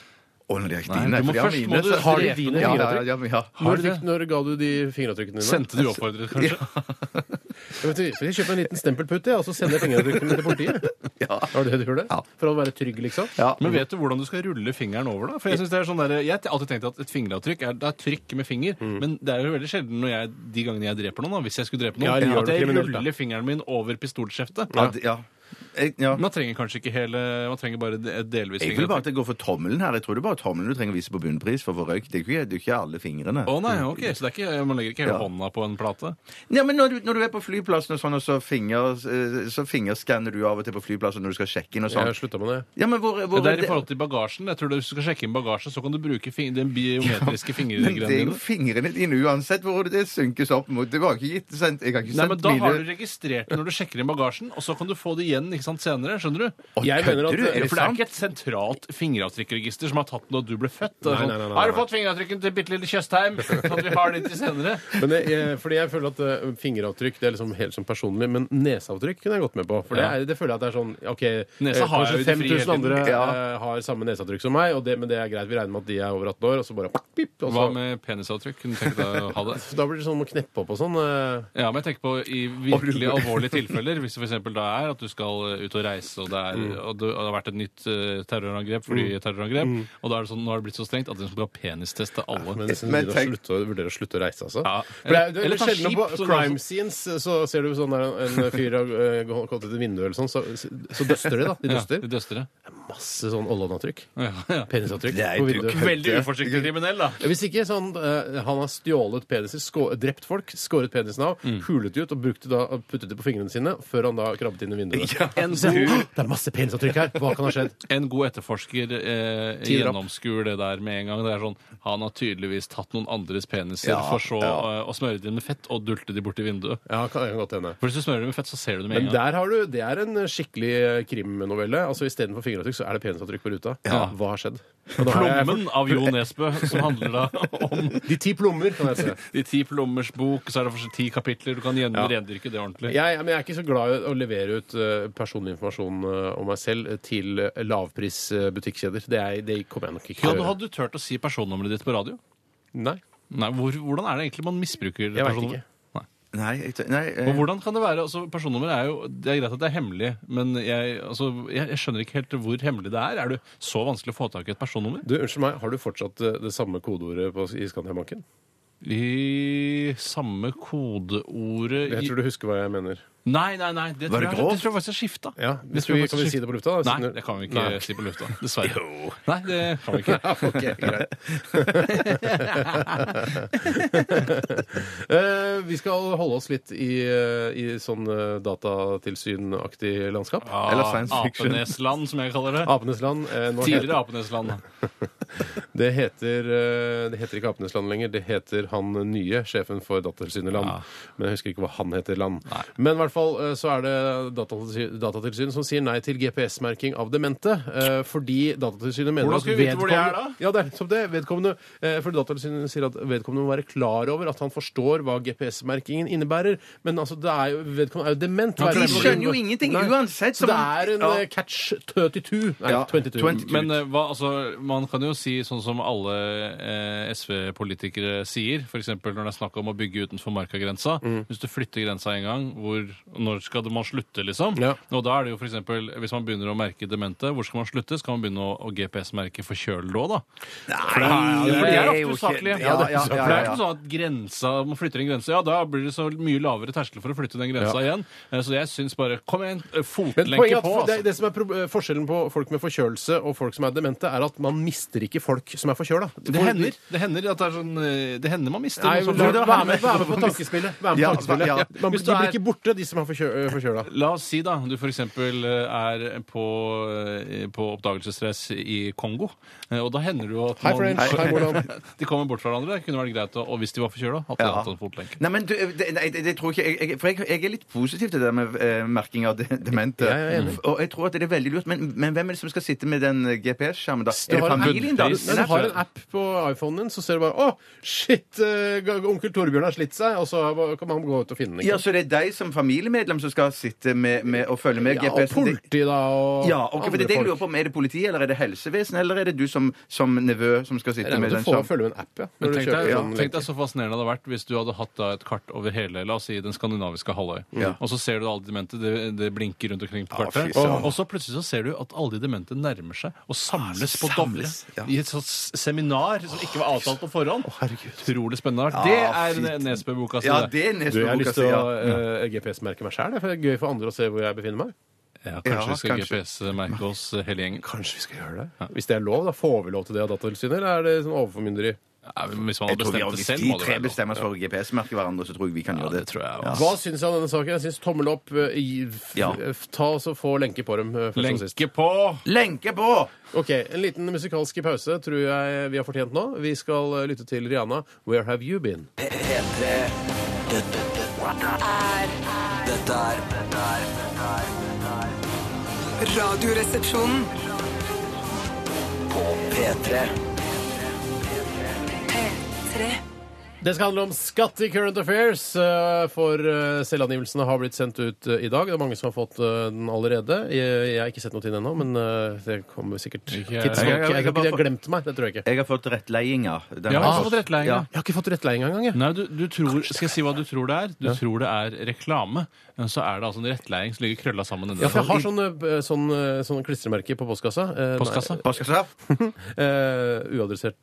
Å, nei, det er ikke
Nei,
dine.
du
for
må
de har
først-
mine,
må du-
så-
har de
dine
ja, ja,
fingeravtrykk?
ja, men ja.
Når,
de det?
fikk, når ga du de fingeravtrykkene dine?
Sendte du oppfordret, kanskje?
Jeg, vet, ikke, så jeg kjøper en liten stempelputt, jeg, og så sender jeg fingeravtrykkene til politiet. Var det det du gjorde?
Ja.
For å være trygg, liksom?
Ja.
Men vet du hvordan du skal rulle fingeren over, da? For Jeg synes det er sånn der, jeg har alltid tenkt at et fingeravtrykk er, det er trykk med finger,
Mm.
men det er jo veldig sjelden når jeg, de gangene jeg dreper noen, da, hvis jeg skulle
Ja,
drepe noen,
eller gjør
at
det
jeg
kriminelt, da.
ruller fingeren min over pistolskjeftet.
Ja, d- ja. Jeg, ja.
Man trenger kanskje ikke hele Man trenger bare et delvis
Jeg vil bare
fingeravtrykk.
at det går for tommelen her. Jeg tror det er bare tommelen du trenger å vise på bunnpris for å få røyk. Det er jo ikke, det er jo ikke alle fingrene.
Å nei, ok, så det er ikke, man legger ikke hele
Mm. Ja.
hånda på en plate?
Ja, men når du, når du er på flyplassen og sånn, og så, finger, eh, så fingerskanner du av og til på flyplassen når du skal sjekke inn og sånn.
Jeg slutta med det.
Ja, men hvor, hvor
det er i forhold til bagasjen. Jeg tror du, Hvis du skal sjekke inn bagasjen, så kan du bruke fing den biometriske
Men det
fingergreiene
er jo
dine.
fingrene dine uansett hvor det synkes opp mot. Det var ikke gitt sendt. Jeg har ikke
Nei, men
sendt
Da har du
bilder.
registrert det når du sjekker inn bagasjen, og så kan du få det igjen ikke sant, senere. skjønner du?
Å,
Jeg mener
kødder
at-
du? Er
Ja,
det
for det er
sant?
ikke et sentralt fingeravtrykkregister som har tatt den da du ble født. Det er
Nei,
sånn,
nei, nei, nei,
Har du
nei.
fått fingeravtrykken til bitte lille Tjøstheim? Sånn at vi har den til senere.
Men jeg, jeg, fordi jeg føler at eh, fingeravtrykk det er liksom helt sånn personlig, men neseavtrykk kunne jeg gått med på. For det,
Ja.
er, det føler jeg at det er sånn OK,
Nesa
eh,
har
kanskje
jeg jo i det frie
5000
hele tiden.
andre
Ja.
eh, har samme neseavtrykk som meg, og det, men det er greit. Vi regner med at de er over 18 år, og så bare pip, og så,
Hva med penisavtrykk? Kunne du tenkt deg å ha det?
Da blir det sånn å kneppe opp og sånn. eh.
Ja, men jeg tenker på i virkelig alvorlige tilfeller, hvis det f.eks. da er at du skal eh, ut og reise, og det, er, og det har vært et nytt eh, terrorangrep, fordi terrorangrep, og da er det sånn, nå har det blitt så strengt at de skal ha penistest til alle.
Men nesten
Men
begynner å
tenk-
slutte å- vurderer å slutte å reise, altså.
Ja.
For det er, det er
Eller ta
sjelden
skip,
på
sånn
crime
også.
scenes så ser du sånn der en fyr har eh, gått ut et vindu eller sånn, så, så døster de, da. De
Ja,
døster.
de døster det.
Masse sånn ollanavtrykk.
Ja, ja.
Penisavtrykk
Nei,
på
du
vinduet.
Veldig uforsiktig kriminell, da.
Ja, Hvis ikke sånn eh, Han har stjålet peniser, skå, drept folk, skåret penisen av, hulet de ut og brukte da, puttet det på fingrene sine før han da krabbet inn i vinduet.
En
Så, det er masse penisavtrykk her! Hva kan ha skjedd?
En god etterforsker eh,
Ti drap.
gjennomskuer det der med en gang. Det er sånn, Han har tydeligvis tatt noen andres peniser
Ja,
for så
ja.
eh, å smøre dem med fett og dulte de borti vinduet.
Ja, kan, kan godt hende.
For Hvis du smører dem med fett, så ser du dem med
Men
en gang.
der har du, det er en skikkelig eh, krimnovelle. Altså Istedenfor fingeravtrykk så er det penisavtrykk på ruta. Hva har skjedd? Og da har jeg-
Plommen av Jo Nesbø, som handler da om
De ti plommer, kan jeg si.
De ti plommers bok, så er det fortsatt ti kapitler. Du kan gjen- rendyrke det ordentlig.
Jeg, men jeg er ikke så glad i å levere ut eh, personlig informasjon eh, om meg selv til eh, lavprisbutikkjeder. Det, er- det kommer jeg nok ikke
Hadde, hadde du turt å si personnummeret ditt på radio?
Nei,
Nei, hvor, Hvordan er det egentlig man misbruker
jeg veit
personnummer?
ikke.
Nei, jeg, t- nei, eh,
Og hvordan kan det være, altså Personnummer er jo det er greit at det er hemmelig, men jeg, altså, jeg, jeg skjønner ikke helt hvor hemmelig det er. Er det så vanskelig å få tak i et personnummer?
Du, Unnskyld meg, har du fortsatt eh, det samme kodeordet på, i Skandiabanken?
I samme kodeordet
Jeg tror du husker hva jeg mener.
Nei, nei, nei, det
Var
tror,
det
jeg, det
grovt?
tror jeg faktisk jeg skifta.
Ja, det tror jeg- kan vi si det på lufta, da, siden
Nei,
du-
det kan vi ikke
Nei.
si på lufta. Dessverre. Nei, det kan vi ikke.
Eh, vi skal holde oss litt i, eh, i sånn eh, datatilsynaktig landskap.
Eller science fiction.
Apenesland, Ah, som jeg kaller det.
Apenes land. eh, nå
Tidligere Apenesland. da.
heter, det, heter, eh, det heter ikke Apenes land lenger, det heter han nye, sjefen for Datatilsynet Land. Men jeg husker ikke hva han heter Land. Men i hvert fall eh, så er det datatilsyn, Datatilsynet som sier nei til GPS-merking av demente, eh, fordi Datatilsynet mener
Hvordan
at
skal vi vite hvor de er da?
Ja, det er som det. Vedkommende, eh, fordi Datatilsynet sier at vedkommende må være klar over at han forstår hva GPS-merkingen innebærer. Men altså, det er jo, vedkommende er jo dement.
de
skjønner jo ingenting uansett,
Så
så
det
man-
er en
Ja.
eh, catch 32. Nei,
Ja,
22.
22.
Men eh, hva, altså, man kan jo si sånn som alle eh, SV-politikere sier, f.eks. når det er snakk om å bygge utenfor markagrensa. Hvis du flytter grensa en gang, hvor Når skal man slutte, liksom?
Ja.
Og da er det jo for eksempel, Hvis man begynner å merke demente, hvor skal man slutte? Skal man begynne å, å GPS-merke forkjølet òg, da? Nei,
det
for det er
er jo
ofte usaklig.
ikke- ja, ja, ja,
For det
ja.
er ikke sånn at grensa, man flytter en grense, ja, da blir det så mye lavere terskel for å flytte den grensa igjen. Eh, Så jeg syns bare Kom igjen, eh,
Men poenget er
fotlenke
at
på,
for- det,
altså.
det som er prob- eh, Forskjellen på folk med forkjølelse og folk som er demente, er at man mister ikke folk som er forkjøla.
Det hender det hender at det er sånn eh, Det hender man mister.
Nei,
noe
men
sånt.
vær vær med, vær med på tankespillet. Vær med på
Ja,
tankespillet.
ja.
Man,
Hvis
de
du
blir
er-
ikke borte, de som er forkjø- eh, forkjøla.
La oss si da, du for eksempel eh, er på, eh, på oppdagelsesreis i Kongo, eh, og da hender det jo at
Hei, French. Hei, hvordan?
de kommer bort fra hverandre. Det kunne vært greit, å- og hvis de var forkjøla, at de
Ja.
hadde hatt en fotlenke.
Nei, men du, eh, det, nei, det, det tror ikke jeg, jeg For jeg, jeg er litt positiv til det der med eh, merking av de, demente.
Ja, jeg er enig.
og jeg tror at det er veldig lurt. Men, men hvem er det som skal sitte med den eh, GPS-skjermen da?
Du
Er det
har en app-
familien, da?
Nei, Du har en app på iPhonen din, så ser du bare Å, shit! eh, ga- onkel Torbjørn har slitt seg, og så kan man gå ut og finne den.
Ja, så det er deg som familiemedlem som skal sitte med, med og følge med
Ja, og
GPS-en? Det-
politi, da, og
Ja, ok, for det er det jeg lurer på om Er det politiet, eller er det helsevesenet, eller er det du som, som nevø som skal sitte
Jeg regner
med
med
den
at du får
skjermen?
følge med en app, ja.
Men
Når du
tenk
kjøper
deg,
sånn
tenk deg så fascinerende det hadde vært hvis du hadde hatt da, et kart over hele la oss si, den skandinaviske halvøy. Og så ser du alle de demente, det, det blinker rundt omkring på kartet. og så plutselig så ser du at alle de demente nærmer seg og samles på Dovre i et sånt s- seminar som ikke var avtalt på forhånd. Utrolig spennende. det
fint.
er Nesbø-boka si.
Ja,
det.
det er
Du, jeg har lyst
Nesbø-boka si.
til å
Ja.
eh, GPS-merke meg sjæl. Det er gøy for andre å se hvor jeg befinner meg.
Ja,
Ja,
kanskje vi skal
kanskje.
GPS-merke oss eh, hele gjengen.
Kanskje vi skal gjøre det? Hvis det er lov, da. Får vi lov til det av Datatilsynet, eller er det sånn overformynderi?
Ja, men hvis man
Jeg
har
tror vi,
bestemt det
hvis
selv,
de
må det
tre
være lov.
bestemmer oss for å GPS-merke hverandre, så tror jeg vi kan gjøre det.
det tror jeg også.
Ja.
Hva syns jeg om denne saken? Jeg syns tommel opp. eh, gi- f-
Ja.
f- Ta og så få lenke på dem. eh, først og sist.
Lenke på!
Lenke på!
Ok, En liten musikalsk pause tror jeg vi har fortjent nå. Vi skal eh, lytte til Rihanna. 'Where Have You Been'?
P- P3 Dette dette- dette er Dette er
Radioresepsjonen.
På P3
P3.
Det skal handle om skatt i Current Affairs, eh, for eh, selvangivelsene har blitt sendt ut eh, i dag. Det er mange som har fått eh, den allerede. Jeg jeg har ikke sett noe til den ennå, men eh, det kommer sikkert
Ikke-
tidsnok. Jeg
jeg- jeg- jeg
tror ikke de
bare-
har glemt meg. Det tror jeg ikke.
Jeg har fått rettledninger. Den har
Ja,
jeg
altså,
fått.
fått rettleiing, ja.
Jeg har ikke fått rettleiing engang, jeg.
Nei, du, du tror, Skal jeg si hva du tror det er? Du tror det er reklame. men Så er det altså en rettleiing som ligger krølla sammen. nedi
Ja, for
der.
jeg har sånn, eh, sånn, eh, sånn klistremerke på postkassa. Eh,
Postkassa?
nei,
Hva skal jeg si?
eh, uadressert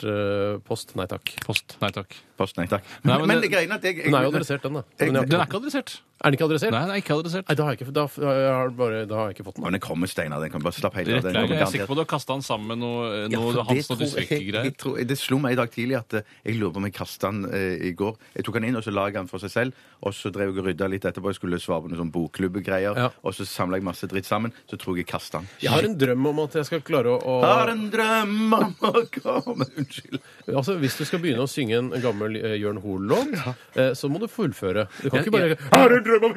eh, post. Nei takk.
Post. Nei takk.
Post, nei takk.
Nei,
Men,
men
men
det-
det greiene at jeg, jeg
Den er jo adressert, den, da. Men jeg har
Den
ikke
er
fått
ikke adressert.
den. Er den ikke adressert?
Eh, Nei, den er ikke adressert.
Nei, da har jeg ikke, da, da har jeg bare, da har jeg ikke fått den.
Å, den kommer, Steinar. Den kan bare slappe helt av. den
Rettleiing.
kommer
Jeg er sikker
garantert.
på du har kasta den sammen med noe, eh,
Ja,
noe
for det
Hansen og
tror jeg-
Dysvik-greier.
jeg tror- Det slo meg i dag tidlig at eh, jeg lurer på om jeg kastet den eh, i går. Jeg tok den inn, og så la jeg den for seg selv. Og så drev jeg og rydda litt etterpå. Jeg skulle svare på noen sånn bokklubbegreier.
Ja.
Og så samla jeg masse dritt sammen. Så tror jeg jeg kastet den.
Jeg har en drøm om at jeg skal klare å, å
Har en drøm om å komme Unnskyld.
Altså, Hvis du skal begynne å synge en gammel eh, Jørn Hoel-låt, eh, så må du fullføre. Du kan
Jeg-
ikke bare
jeg-
Har en drøm om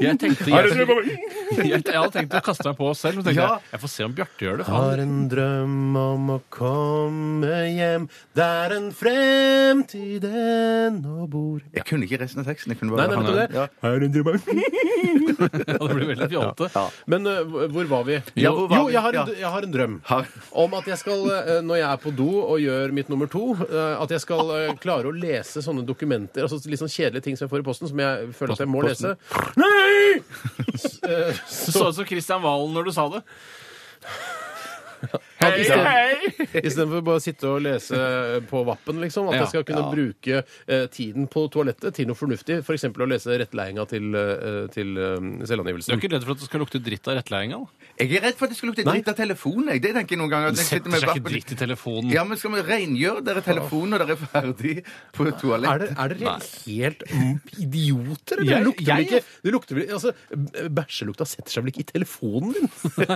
Jeg tenkte
Har en
jeg,
drøm om
jeg, jeg hadde tenkt å kaste meg på selv, men tenkte
Ja.
jeg jeg får se om Bjarte gjør det. for
Har
han-
en drøm om å komme hjem der en fremtid ennå bor
Jeg kunne ikke resten av teksten. Jeg kunne
Nei,
bare
nei, vet du det?
Ja.
Har en drøm om
Ja, det blir veldig fjollete.
Men eh, hvor var vi?
Ja, hvor var
jo,
vi?
jeg har, en,
Ja.
jeg har en drøm
Har-
om at jeg skal, eh, når jeg er på do og gjør mitt nummer to, eh, at jeg skal eh, klare å lese sånne dokumenter, altså litt sånn kjedelige ting som jeg får i posten, som jeg føler at jeg må lese. Nei! S- eh,
Du
Så
så ut som Christian Valen når du sa det.
Hei,
hei!
istedenfor bare å sitte og lese på Vappen, liksom, at
Ja.
jeg skal kunne bruke eh, tiden på toalettet til noe fornuftig, f.eks. å lese rettleiinga til, eh, til eh,
Du er
selvangivelsen.
ikke redd for at det skal lukte dritt av rettleiinga? da?
Jeg er redd for at det skal lukte dritt av telefonen. Jeg. Det tenker jeg noen ganger. at jeg sitter
Setter
med
seg ikke
vappen-
dritt i telefonen.
Ja, men skal vi rengjøre dere telefonen når dere er ferdig på toalettet?
Er det, er dere helt m- idioter, eller? det
Jeg-
lukter vel
jeg-
ikke det lukter vel, altså, b- Bæsjelukta setter seg vel ikke i telefonen din?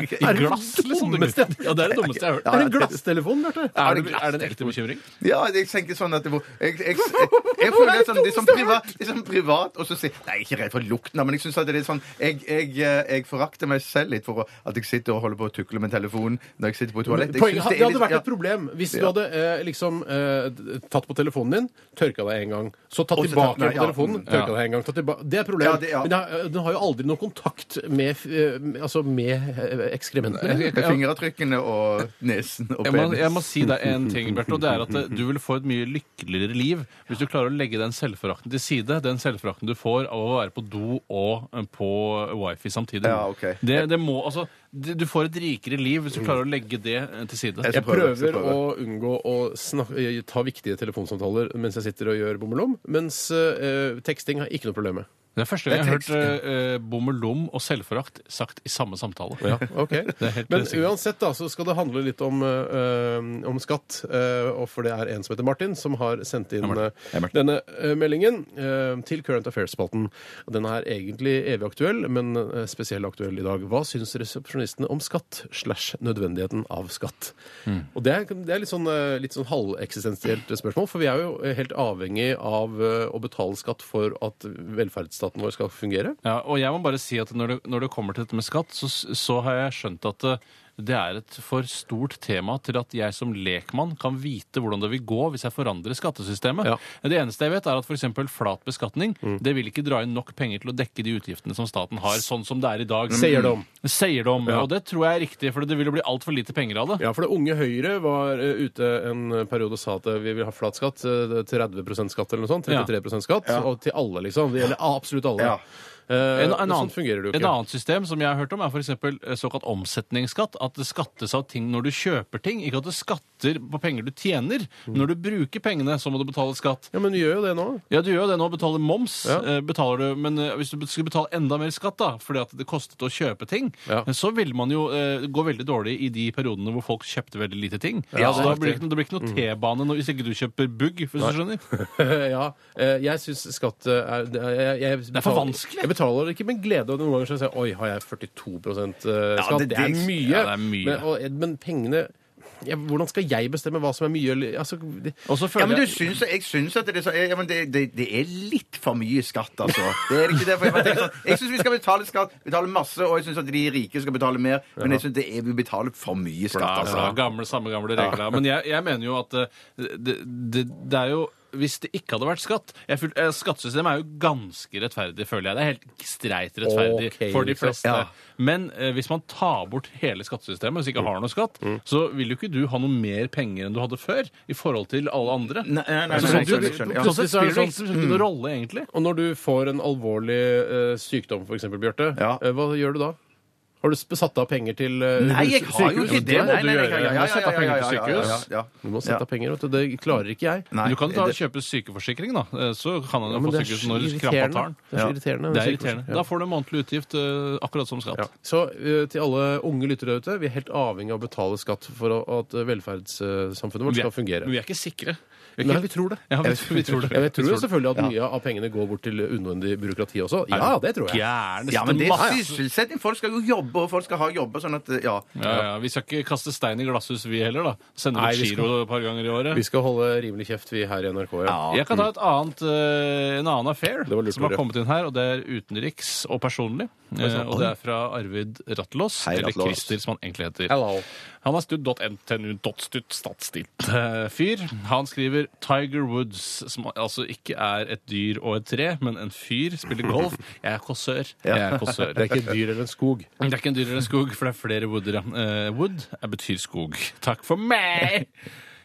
I glass, liksom. Det
dummeste?
Ja, det er det dummeste jeg har hørt.
Er det en glasstelefon, Bjarte?
Er det, er det en ekte bekymring?
Ja, jeg tenker sånn at det var Jeg, jeg, jeg, jeg føler det er sånn, det er sånn privat, det er sånn privat og så sier Nei, jeg er ikke redd for lukten, da, men jeg synes at det er sånn Jeg, jeg, eh, jeg forakter meg selv litt for å, at jeg sitter og holder på å tukle med telefonen når jeg sitter på toalettet. Jeg
Poenget,
synes
det,
er
hadde
litt-
vært et problem hvis du
Ja.
hadde eh, liksom eh, d- tatt på telefonen din, tørka deg en gang, så tatt
Og så
tilbake
tatt- nei,
på
ja.
telefonen,
Ja.
tørka deg en gang, tatt tilbake Det er et problem.
Ja, det- ja.
Men det har- eh, den har jo aldri noe kontakt med, f- eh, altså med eh, ekskrementene.
Med fingeravtrykkene og nesen og
Jeg må, jeg må
penis.
si deg en ting, Bjarte. Og det er at eh, du vil få et mye lykkeligere liv hvis du klarer å legge den selvforakten til side. Den selvforakten du får av å være på do og eh, på wifi samtidig.
Ja, ok.
det, det må, altså, du du får et rikere liv hvis du klarer å legge det eh, til side.
skal
Jeg
prøve, jeg skal
prøver å unngå å snak eh, ta viktige telefonsamtaler mens jeg sitter og gjør bommelom, mens eh, teksting har jeg ikke noe problem med.
Det er første gang jeg
Det er
har hørt eh, eh, bommelom og selvforakt sagt i samme samtale.
Ja, ok.
er helt
Men
sikkert.
uansett da, så skal det handle litt om, eh, om skatt. eh, og for det er en som heter Martin, som har sendt inn
Martin.
eh,
Hei, Martin.
denne eh, meldingen eh, til Current Affairs-spalten. Og Den er egentlig evig aktuell, men eh, spesielt aktuell i dag. Hva syns resepsjonistene om skatt slash nødvendigheten av skatt?
Mm.
Og det er, det er litt sånn, eh, litt sånn halveksistensielt spørsmål, for vi er jo helt avhengig av eh, å betale skatt for at velferdsstaten vår skal fungere.
Ja, og jeg må bare si at når det, når det kommer til dette med skatt, så, så har jeg skjønt at eh, det er et for stort tema til at jeg som lekmann kan vite hvordan det vil gå hvis jeg forandrer skattesystemet.
Ja. Mm.
Det eneste jeg vet er at f.eks. flat beskatning det vil ikke dra inn nok penger til å dekke de utgiftene som staten har, sånn som det er i dag.
Sier de.
Sier de,
Ja.
og det tror jeg er riktig, for det vil jo bli altfor lite penger av det.
Ja, for det unge Høyre var eh, ute en periode og sa at eh, vi vil ha flat skatt. eh, det er 30 skatt eller noe sånt.
Ja.
33 skatt. Og til alle, liksom. Det gjelder absolutt alle.
Ja.
Eh,
En, en annen,
sånn fungerer det jo
et
ikke.
annet system som jeg har hørt om, er f.eks. såkalt omsetningsskatt. At det skattes av ting når du kjøper ting. Ikke at det skatter på penger du tjener.
Mm.
Men når du bruker pengene, så må du betale skatt.
Ja, men vi gjør jo det nå.
Ja, du gjør jo det nå. Betaler moms.
Ja.
eh, Betaler du, men eh, hvis du skulle betale enda mer skatt da, fordi at det kostet å kjøpe ting,
Ja.
eh, så vil man jo eh, gå veldig dårlig i de periodene hvor folk kjøpte veldig lite ting.
Ja, det
så
er
da blir det
riktig. Mm.
ikke, det blir ikke noe T-bane når- hvis ikke du kjøper bugg, hvis du skjønner.
ja, eh, jeg syns skatt eh, er det er- jeg, jeg
er for
betaler-
vanskelig.
Jeg betaler det ikke med glede. Og noen ganger så sier jeg oi, har jeg 42 skatt?
det-
det, er
det-
mye.
ja, det er mye.
Men, og, men pengene ja, Hvordan skal jeg bestemme hva som er mye? eller- Altså, det,
Og så
Ja,
føler
men du
jeg
syns, jeg syns at det er, så, ja, men det, det, det er litt for mye skatt, altså. Det er ikke det, for jeg bare tenker sånn, jeg syns vi skal betale skatt, betale masse, og jeg syns at de rike skal betale mer, men jeg syns det er, vi betaler for mye skatt,
Ja, bra.
altså.
Gamle, samme gamle regler. Men jeg, jeg mener jo at eh, det, det, det er jo hvis det ikke hadde vært skatt jeg føl- eh, Skattesystemet er jo ganske rettferdig, føler jeg. Det er helt streit rettferdig
Ok,
for de
liksom.
fleste.
Ja.
Men eh, hvis man tar bort hele skattesystemet, hvis du ikke har noe skatt, så vil jo ikke du ha noe mer penger enn du hadde før i forhold til alle andre.
Nei, nei, nei,
Så
nei,
du-
skjønner, skjønner, ja.
Sånn sett spiller det ikke ikke noen rolle, egentlig.
Og når du får en alvorlig eh, sykdom, f.eks., Bjarte,
Ja.
eh, hva gjør du da? Har du sp- satt av penger til uh,
Nei, jeg har jo ikke det.
må
Nei,
du
nei, nei,
gjøre.
ja, ja,
Du
ja,
må sette av penger
ja, ja,
til
ja, ja,
sykehus.
ja, ja.
Du må sette
Ja.
av penger, vet du. Det klarer ikke jeg.
Nei,
Du kan ta,
det-
kjøpe sykeforsikring, da. eh, Så kan han
Ja,
jo
men
få
det er
sykehus
så
når krampa
irriterende.
tar den.
Det er så irriterende.
Det
med
er irriterende.
sykehus. Ja.
Da får du en månedlig utgift eh, akkurat som skatt.
Ja. Så eh, til alle unge lyttere ute, vi er helt avhengig av å betale skatt for å- at eh, velferdssamfunnet vårt
Vi
skal
er-
fungere.
Men vi er ikke sikre. Vi er ikke-
Nei, vi tror det.
Ja, vi, vi tror det.
Ja, Jeg tror jo selvfølgelig at mye av pengene går bort til unødvendig byråkrati også. Ja, det tror jeg.
Gjerne.
Ja, men det er
masse-
sysselsetting. Folk skal jo jobbe, og folk skal ha jobber, sånn at ja.
ja, ja, Vi skal ikke kaste stein i glasshus, vi heller. da. Sende
Nei,
ut
vi skal-
giro et par ganger i året.
Vi skal holde rimelig kjeft, vi her i NRK. Ja.
Jeg kan ta et annet, eh, en annen affair
Det var lurt,
som har
Tore.
kommet inn her, og det er utenriks og personlig. Eh, og det er fra Arvid Rattlås,
Hei,
eller
Ratlås.
Christer, som han egentlig heter.
Hello.
Han er stud.ntnu.stutt-fyr. eh, Han skriver Tiger Woods, som altså ikke er et dyr og et tre, men en fyr, spiller golf. Jeg er kåsør. Jeg er kåsør.
Det er ikke et dyr eller en skog.
Det er ikke en dyr eller en skog, for det er flere wooder. ja. Eh, wood er betyr skog. Takk for meg!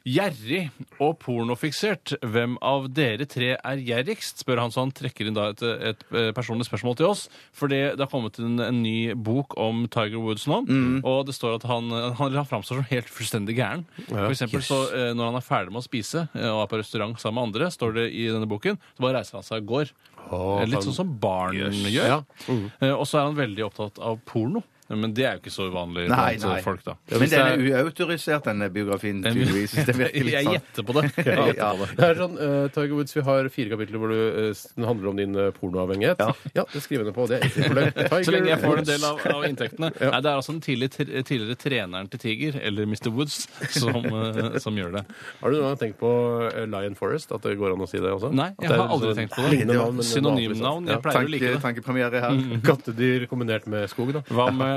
Gjerrig og pornofiksert. Hvem av dere tre er gjerrigst? spør han, så han trekker inn da et, et eh, personlig spørsmål til oss. For det, det har kommet en, en ny bok om Tiger Woods nå, og det står at han, eh, han, eller han framstår som helt fullstendig gæren. For eksempel så eh, når han er ferdig med å spise eh, og er på restaurant sammen med andre, står det i denne boken, så bare reiser han seg og går. Eh, Litt sånn som barn gjør.
Ja.
Eh, Og så er han veldig opptatt av porno. Men det er jo ikke så uvanlig
Nei,
blant eh,
nei.
folk, da.
Men den er uautorisert, denne biografien, tydeligvis. Det virker
Jeg
litt sånn.
gjetter på det. Jeg
Ja.
gjetter på det.
Det er sånn, eh, Tiger Woods, Vi har fire kapitler hvor du, eh, s- den handler om din eh, pornoavhengighet. Ja, det skriver jeg ned på. Det er ikke noe problem. Tiger
Så lenge jeg får en del
Woods.
av, av inntektene. Nei, det er altså den tidligere, tidligere treneren til Tiger, eller Mr. Woods, som, eh, som gjør det.
Har du noen gang tenkt på eh, Lion Forest? At det går an å si det også?
Nei,
At
jeg
det er
har aldri
sånn
tenkt på det.
lignende navn, men
Synonymnavn. Jeg
vanlig,
sånn. Tanke,
pleier å like det. Mm.
tankepremiere her.
sånn. Kattedyr kombinert med skog, da.
Hva med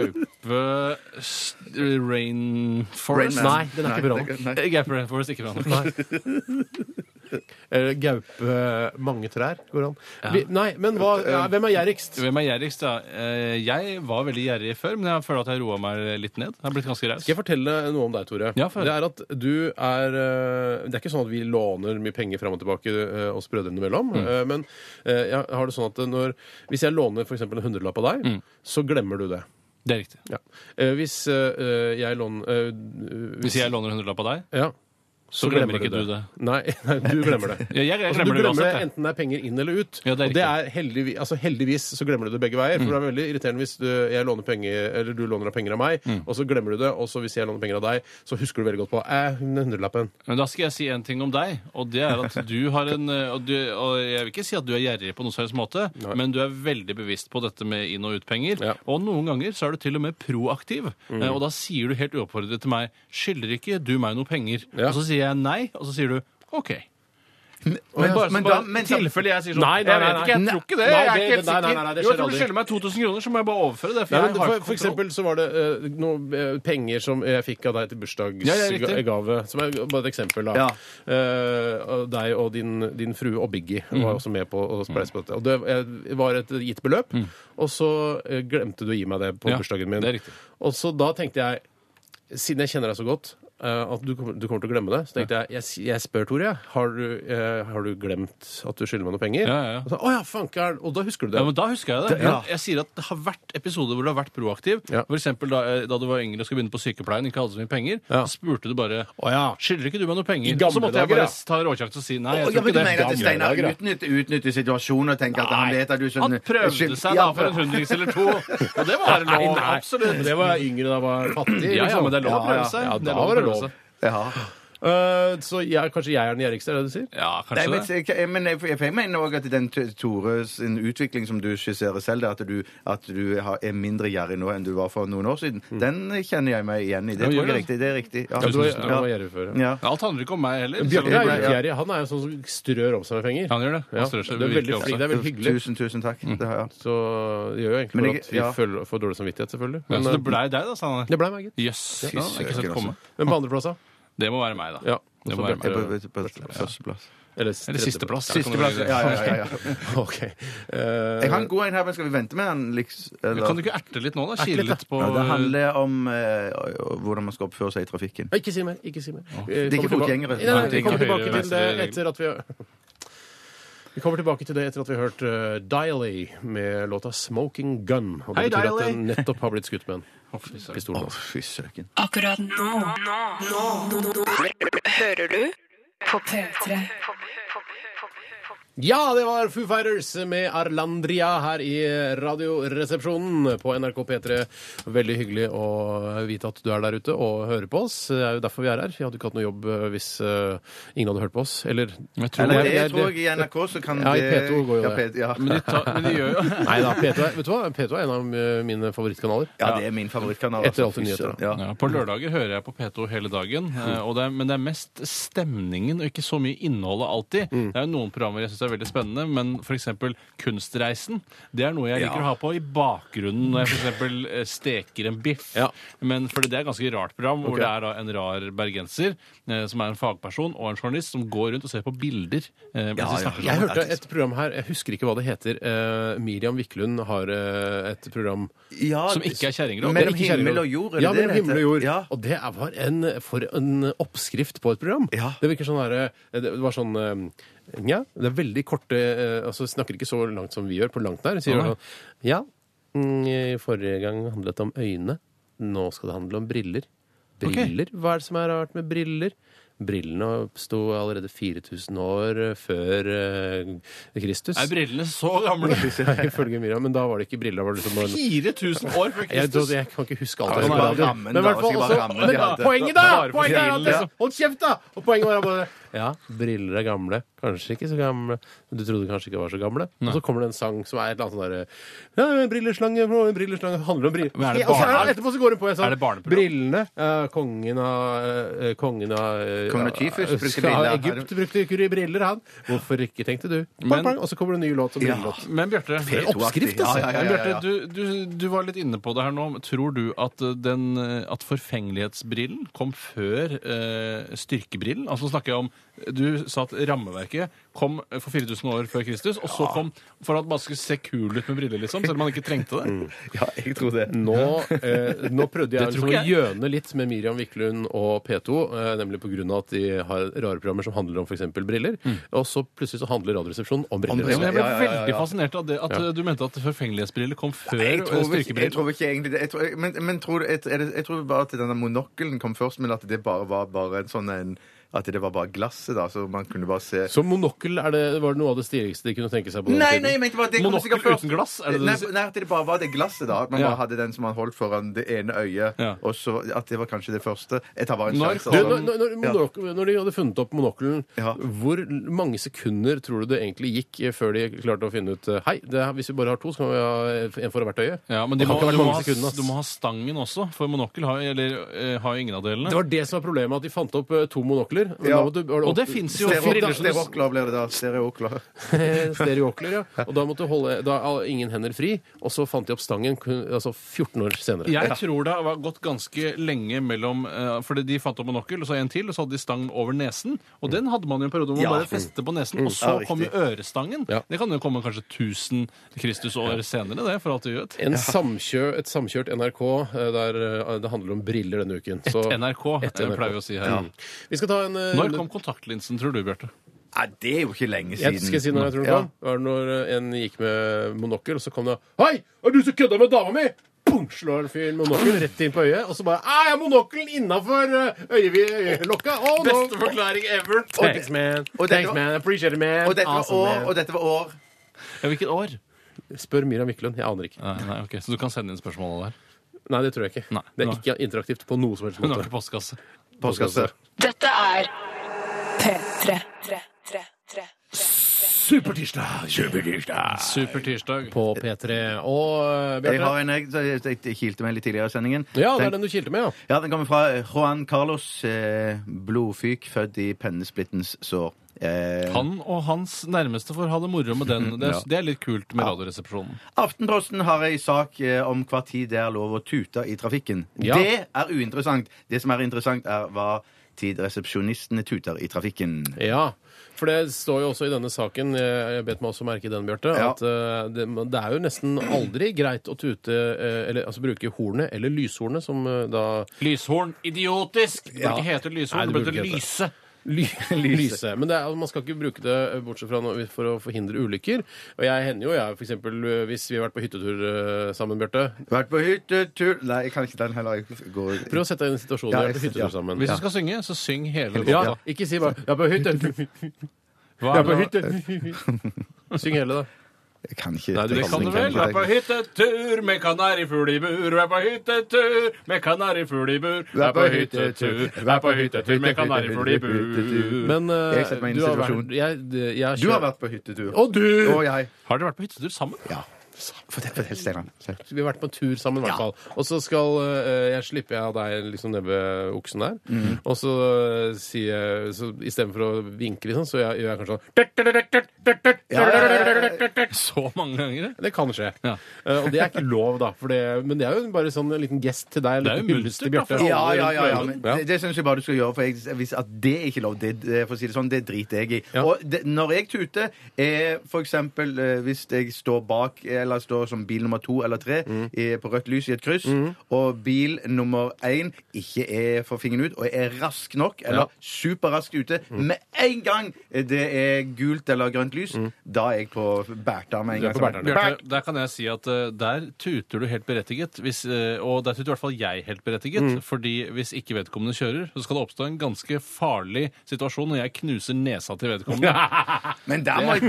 gaupe s- Rainforest?
Rain Man.
Nei, den er ikke bra nok.
Nei.
Eh, Gaupe Rainforest ikke bra nok.
Eller gaupe mange trær, går an. Vi, nei, men hva,
Eh,
ja, hvem er gjerrigst?
Hvem er gjerrigst, da? Eh, Jeg var veldig gjerrig før, men jeg føler at jeg roa meg litt ned. Jeg har blitt ganske raus.
Skal jeg fortelle noe om deg, Tore?
Ja, få høre.
det er at du er eh, Det er ikke sånn at vi låner mye penger fram og tilbake eh, oss brødrene imellom,
Mm.
eh, men eh, jeg har det sånn at når Hvis jeg låner f.eks. en hundrelapp av
Mm.
deg, så glemmer du det.
Det er riktig.
Ja. Eh, Hvis eh, jeg låner eh,
Hvis jeg låner en hundrelapp av deg
Ja. Så,
glemmer ikke du det.
Nei, nei, du glemmer det.
Ja, jeg- jeg
altså,
glemmer
du
det
glemmer
uansett, jeg.
enten det er penger inn eller ut.
Ja, det er
og det er heldigvis, altså, heldigvis så glemmer du det begge veier. For det er veldig irriterende hvis du, jeg låner penger, eller du låner av penger av meg,
Mm.
og så glemmer du det. Og så hvis jeg låner penger av deg, så husker du veldig godt på eh, den hundrelappen.
Men da skal jeg si en ting om deg, og det er at du har en eh, Og, du, og jeg vil ikke si at du er gjerrig på noen slags måte, men du er veldig bevisst på dette med inn- og utpenger.
Ja. Mm.
Og noen ganger så er du til og med proaktiv, eh, og da sier du helt uoppfordret til meg 'Skylder ikke du meg noe penger?'
Ja.
Og så sier jeg nei, og så sier du 'OK'.
Men,
Bare,
men
bare,
da- men da-
tilfelle jeg sier sånn
Nei, nei, nei,
Jeg vet ikke, jeg
nei.
tror ikke det.
Nei,
jeg er
det-
ikke helt
nei, nei,
sikker.
nei, nei, det skjer
Jo, jeg tror du
aldri.
skylder meg 2000 kroner, så må jeg bare overføre det. For
Nei,
jeg
men
har
for,
ikke
for
kontroll.
eksempel så var det eh, noen eh, penger som jeg fikk av deg til
Ja, ja, riktig.
bursdagsgave. som er bare et eksempel. da.
Ja.
Eh, og deg og din, din frue og Biggie
Mm.
var også med på å spleise på dette. Og det eh, var et gitt beløp, og så eh, glemte du å gi meg det på
Mm. Ja,
bursdagen min.
det er riktig.
Og så da tenkte jeg, siden jeg kjenner deg så godt eh, at du kommer, du kommer til å glemme det. Så tenkte jeg jeg, s- jeg spør Tore, jeg, har, du, eh, har du glemt at du skylder meg noen penger?
Ja, ja, ja.
Og, så, «Å ja, fanker, og da husker du det.
Ja, men Da husker jeg det.
Ja.
Men Jeg sier at det har vært episoder hvor du har vært proaktiv.
Ja.
For eksempel da, eh, da du var yngre og skulle begynne på sykepleien, ikke hadde så mye penger,
Ja.
så spurte du bare
Å ja.
Skylder ikke du meg noe
I
penger?
gamle
Så måtte jeg
dager,
bare
ja.
ta råkjakt og si
Å,
nei. jeg
ja, men
tror
du
ikke
mener at
det.
gamle
Steinar
dager, da.
utnytter, utnytter situasjonen og tenker at han
Nei.
vet at du
Han prøvde seg da for en hundrings eller to, og det var
Nei,
lov.
nei.
Absolutt.
Men Det var yngre da jeg var fattig.
Ja, ja,
liksom.
men det er lov å prøve
ja.
seg.
Ja,
Det er
da var det
lov å prøve
lov.
seg.
Ja.
Eh, så jeg, kanskje jeg er den gjerrigste, er det det du sier?
Ja,
Nei,
kanskje
men,
det.
jeg, men jeg, jeg mener også at den T- Tore sin utvikling som du skisserer selv, det at du, at du har- er mindre gjerrig nå enn du var for noen år siden, den kjenner jeg meg igjen i. Det tror
Mm. Ja,
jeg
gjør
er
det.
riktig. Det er riktig. Ja.
du var-
Ja.
du var gjerrig før,
Ja.
Alt handler ikke om meg heller. selv om
Bjarte er jo
jeg-
ikke gjerrig. Han er jo sånn som strør om seg med penger.
Han gjør det. Han
Ja,
strør
det
seg
er
virkelig
veldig
om
flink,
seg.
det er veldig hyggelig.
Tusen, tusen takk.
Mm.
Det har jeg.
Så det gjør jo egentlig
Men
bare
jeg-
at vi
ja.
føler, får dårlig samvittighet, selvfølgelig.
Ja,
Men,
så det
eh,
blei deg, da, sa han.
det ble meg, gitt.
Jøs. Ja, jeg har ikke sett
søker,
komme.
Men på andreplass, da?
Det må være meg, da.
Ja.
Det
Også
må
Bjarte.
være meg.
Jeg prøver på Førsteplass.
Eller,
Eller
tredjeplass.
sisteplass. da, kan du
Sisteplass,
velge.
ja, ja, ja, ja.
Ok. Eh,
Jeg har en god en her, men skal vi vente med den? Liksom, eller?
Kan du ikke erte litt nå, da? Kile
litt, da.
litt på
ja, det handler om eh, hvordan man skal oppføre seg i trafikken.
Ikke si mer. ikke si mer. Eh,
Det er ikke
kommer tilba-
fotgjengere.
Nei, nei,
Nei, det
Vi
er
kommer
ikke
tilbake
høyre-
til det
venstre-
etter at vi har vi kommer tilbake til det etter at vi har hørt eh, Diley med låta 'Smoking Gun'. Og det
Hei,
betyr at
Diley!
den nettopp har blitt skutt med en
Å, fy søren.
pistol.
Å, fy søken.
Akkurat nå. Nå. Nå. nå, nå. Hører du på P3?
Ja, det var Foo Fighters med Arlandria her i Radioresepsjonen på NRK P3. Veldig hyggelig å vite at du er der ute og hører på oss. Det er jo derfor vi er her. Vi hadde ikke hatt noe jobb eh, hvis eh, ingen hadde hørt på oss. Eller
Jeg tror
det-
Eller det,
det-
tror jeg i NRK så kan
Ja, i
det
P2 går jo
ja,
det.
P- Ja.
Men de, tar, men de gjør jo
Nei da, P2 er, vet du hva? P2 er en av eh, mine favorittkanaler.
ja, det er min favorittkanal.
Etter
altså.
Alltid Nyheter, da.
Ja.
Ja, på lørdager hører jeg på P2 hele dagen, eh, og det er, men det er mest stemningen og ikke så mye innholdet alltid. Det er jo noen programmer jeg syns er veldig spennende, men f.eks. Kunstreisen. Det er noe jeg liker å ha på i bakgrunnen når jeg f.eks. steker en biff.
Ja.
Men fordi det er et ganske rart program, hvor
Ok.
det er da en rar bergenser eh, som er en fagperson og en journalist som går rundt og ser på bilder. eh, mens de snakker
Jeg
sammen.
hørte et program her, jeg husker ikke hva det heter. Eh, Miriam Viklund har eh, et program
Ja,
Som ikke er kjerringråd.
Mellom
Det er ikke
himmel
kjerringråd.
og jord, er det
Ja,
det
mellom
det heter?
himmel og jord.
Ja.
Og det er- var en, for en oppskrift på et program.
Ja.
Det virker sånn herre Det var sånn eh, Nja, det er veldig korte eh, Altså snakker ikke så langt som vi gjør, på langt nær. Sier
Nei.
sånn Ja, mm, forrige gang handlet det om øyne. Nå skal det handle om briller. Briller? Hva er det som er rart med briller? Brillene oppsto allerede 4000 år eh, før eh, Kristus.
Er brillene så gamle?
Ifølge Miriam. Men da var det ikke briller. Da var det liksom bare en
4000 år
jeg, tror,
før Kristus!
jeg kan ikke huske alt.
Ja,
jeg
men
har skrevet.
bare rammen,
Men i
da,
hvert fall
skal bare
også-
rammen
men
de hadde.
Poenget, da!
Bare for
Poenget er at
brillene.
liksom, Hold kjeft, da! Og poenget var bare Ja, briller er gamle. Kanskje ikke så gamle. Men Du trodde kanskje ikke var så gamle. Og så kommer det en sang som er et eller annet sånn derre ja, Brilleslange, brilleslange Handler om briller.
Men er det
Ja, og så
barne-
er det- etterpå så går hun på en
Er det
sånn
barneprogram?
Brillene. eh, kongen av eh, Kongen av eh,
Kongen av Tyfus
eh,
brukte
skal-
briller.
Egypt brukte ikke briller, han. Hvorfor ikke, tenkte du.
Men-
og så kommer det en ny låt som
Ja.
brillelåt.
Men Bjarte
P2 -aktig.
oppskrift, altså.
Ja, ja,
Men
ja, ja,
Bjarte,
ja.
du, du, du var litt inne på det her nå. Tror du at, eh, den, eh, at forfengelighetsbrillen kom før eh, styrkebrillen? Altså snakker jeg om Du sa at rammeverket kom for 4000 år før Kristus, og så kom for at man skulle se kul ut med briller, liksom, selv om man ikke trengte det.
Ja, jeg tror det.
Nå, eh, nå prøvde jeg
Det
liksom
tror
å
ikke jeg.
gjøne litt med Miriam Wiklund og P2, eh, nemlig pga. at de har rare programmer som handler om f.eks. briller.
Mm.
Og så plutselig så handler Radioresepsjonen om briller.
briller,
Men jeg
også.
Ja, ja,
ble
ja, ja.
veldig fascinert av det at eh, du mente at forfengelighetsbriller kom før eh,
Jeg tror, vel ikke, jeg
styrkebriller.
tror ikke egentlig det. Jeg tror, men men tror, jeg, er det- jeg tror bare at denne monokkelen kom først, men at det bare var bare en sånn en At det var bare glasset, da, så man kunne bare se
Så monokkel er det, var det noe av det stigeste de kunne tenke seg på den
Nei,
tiden?
nei, jeg mente bare at det kom
Monokkel
sikkert først.
uten glass, er det det du
nei,
sier?
nei, at det bare var det glasset, da. At man
Ja.
bare hadde den som man holdt foran det ene øyet,
Ja.
og så at det var kanskje det første. Jeg tar bare en
Når
sjanse.
kom-
Du,
altså.
når, når, når, monok- når de hadde funnet opp monokkelen,
Ja.
hvor mange sekunder tror du det egentlig gikk eh, før de klarte å finne ut eh, Hei, det er, hvis vi bare har to, så kan vi ha en for hvert øye.
Ja, men de
Det
må,
kan ikke ha vært
du, må
mange
ha,
sekunder, ass.
du må ha stangen også, for monokkel har, eller, eh, har jo ingen av delene.
Det var det som var problemet, at de fant opp eh, to monokler. Men
Ja.
da måtte- var
Og det
opp-
fins jo briller
Stereokler
som du
stereokler ble det da. Stereokler.
Stereokler, Eh, ja. Og da måtte holde da er ingen hender fri, og så fant de opp stangen kun, altså 14 år senere.
Jeg tror det har gått ganske lenge mellom eh, Fordi de fant opp monokkel, og så en til, og så hadde de stang over nesen. Og den hadde man jo en periode hvor man
Ja.
bare festet på nesen, og så
Ja, riktig.
kom jo ørestangen.
Ja.
Det kan jo komme kanskje 1000 Kristusår senere, det, for alt vi vet.
En samkjø, et samkjørt NRK eh, der eh, det handler om briller denne uken. Så-
NRK,
Et
eh,
NRK.
pleier vi å si her.
Mm. Vi skal ta en eh,
Når kom kontaktlinsen, tror du, Bjarte?
Nei, det er jo ikke lenge
jeg skal jeg si
siden.
når jeg tror den
Ja.
kom. Var det når eh, en gikk med monokkel, og så kom det Hei! Er du som kødda med dama mi? Pung! Slår en fyr monokkel rett inn på øyet, og så bare Æ, jeg har monokkelen innafor eh, øyelokka! Å, nå
forklaring ever!
Thanks, man.
og det-
Thanks, man. Appreciate it, man.
Og dette
altså,
var
Awesome, man.
år, og dette var år.
Ja, hvilket år?
Spør Miriam Wiklund. Jeg aner ikke.
Nei, nei, ok, Så du kan sende inn spørsmålet der?
Nei, det tror jeg ikke.
Nei.
Det er
Nei.
ikke interaktivt på noe som helst
Hun har
måte.
ikke postkasse.
Postkasse.
Dette er P3. P3. P3. P3.
Supertirsdag! Supertirsdag! Supertirsdag.
På P3. Og eh,
Jeg
Bjarte.
har en jeg, jeg, jeg kilte meg litt tidligere i sendingen.
Ja, det
Den-
er den du kilte med, ja.
Ja, den kommer fra Juan Carlos, eh, blodfyk, født i pennesplittens sår. Eh,
Han og hans nærmeste får ha det moro med den. Det er,
Ja.
det er litt kult med Radioresepsjonen.
Aftenposten har ei sak eh, om hva tid det er lov å tute i trafikken.
Ja.
Det er uinteressant. Det som er interessant, er hva tid resepsjonistene tuter i trafikken.
Ja. For det står jo også i denne saken, eh, jeg bet meg også merke i den, Bjarte,
Ja.
at eh, det, man- det er jo nesten aldri greit å tute eh, eller altså bruke hornet eller lyshornet som eh, da
Lyshorn. Idiotisk! Det
Ja.
burde ikke hete
Nei,
lyshorn,
det
det burde
burde ikke
hete lyse.
Ly lyse. Men det er, altså, man skal ikke bruke det eh, bortsett fra når, for å forhindre ulykker. Og jeg hender jo, jeg, for eksempel, eh, hvis vi har vært på hyttetur eh, sammen, Bjarte
Vært på hyttetur Nei, jeg kan ikke den heller. Jeg går...
Prøv å sette deg i den situasjonen vi
Ja,
har vært på
jeg-
hyttetur
ja.
sammen.
Hvis
Ja.
du skal synge, så syng hele
Ja,
låta.
ikke si bare 'Jeg er på hytte'.
Hva
Jeg
er
er på
det-
hytte. Syng hele, da.
Jeg kan ikke
Nei, du-
Det kan du vel.
Jeg
Vær på hyttetur med kanarifugl i bur. Vær på hyttetur med kanarifugl i bur. Vær på hyttetur, vær på hyttetur med kanarifugl i bur.
Men eh,
Jeg setter meg inn i
du har
situasjonen.
vært- jeg, det- jeg
Du har
kjørt-
vært på hyttetur.
Og du!
Og jeg.
Har dere vært på hyttetur sammen?
Ja. Fortell, fortell Steinar.
Vi har vært på en tur sammen, i hvert fall. Og så skal eh, jeg slippe av deg liksom ned ved oksen der.
Mm.
Og så eh, sier jeg så Istedenfor å vinke, liksom, så jeg- gjør jeg kanskje sånn
Så mange ganger.
Det kan skje.
Ja.
Eh, og det er ikke lov, da. For det, men det er jo bare sånn en liten gest til deg. en
Det er
liten
jo
hyllest til
munter, da,
Bjarte.
for
Ja, ja, ja, ja, men
Ja.
det, det syns jeg bare du skal gjøre. For jeg, hvis at det er ikke lov, det, det- for å si det sånn, det driter jeg i.
Ja.
Og det, når jeg tuter, er for eksempel eh, hvis jeg står bak, eller står som bil nummer to eller tre
Mm.
eh, på rødt lys i et kryss, og bil nummer én ikke er for fingeren ut, og er rask nok,
Ja.
eller
Mm.
superraskt ute, med en gang det er gult eller grønt lys, da er jeg på bærta med en
Du er
gang.
på bærta.
Bjarte, der kan jeg si at eh, der tuter du helt berettiget. Hvis, eh, og der tuter i hvert fall jeg helt berettiget.
Mm.
fordi hvis ikke vedkommende kjører, så skal det oppstå en ganske farlig situasjon når jeg knuser nesa til vedkommende.
Men der må jeg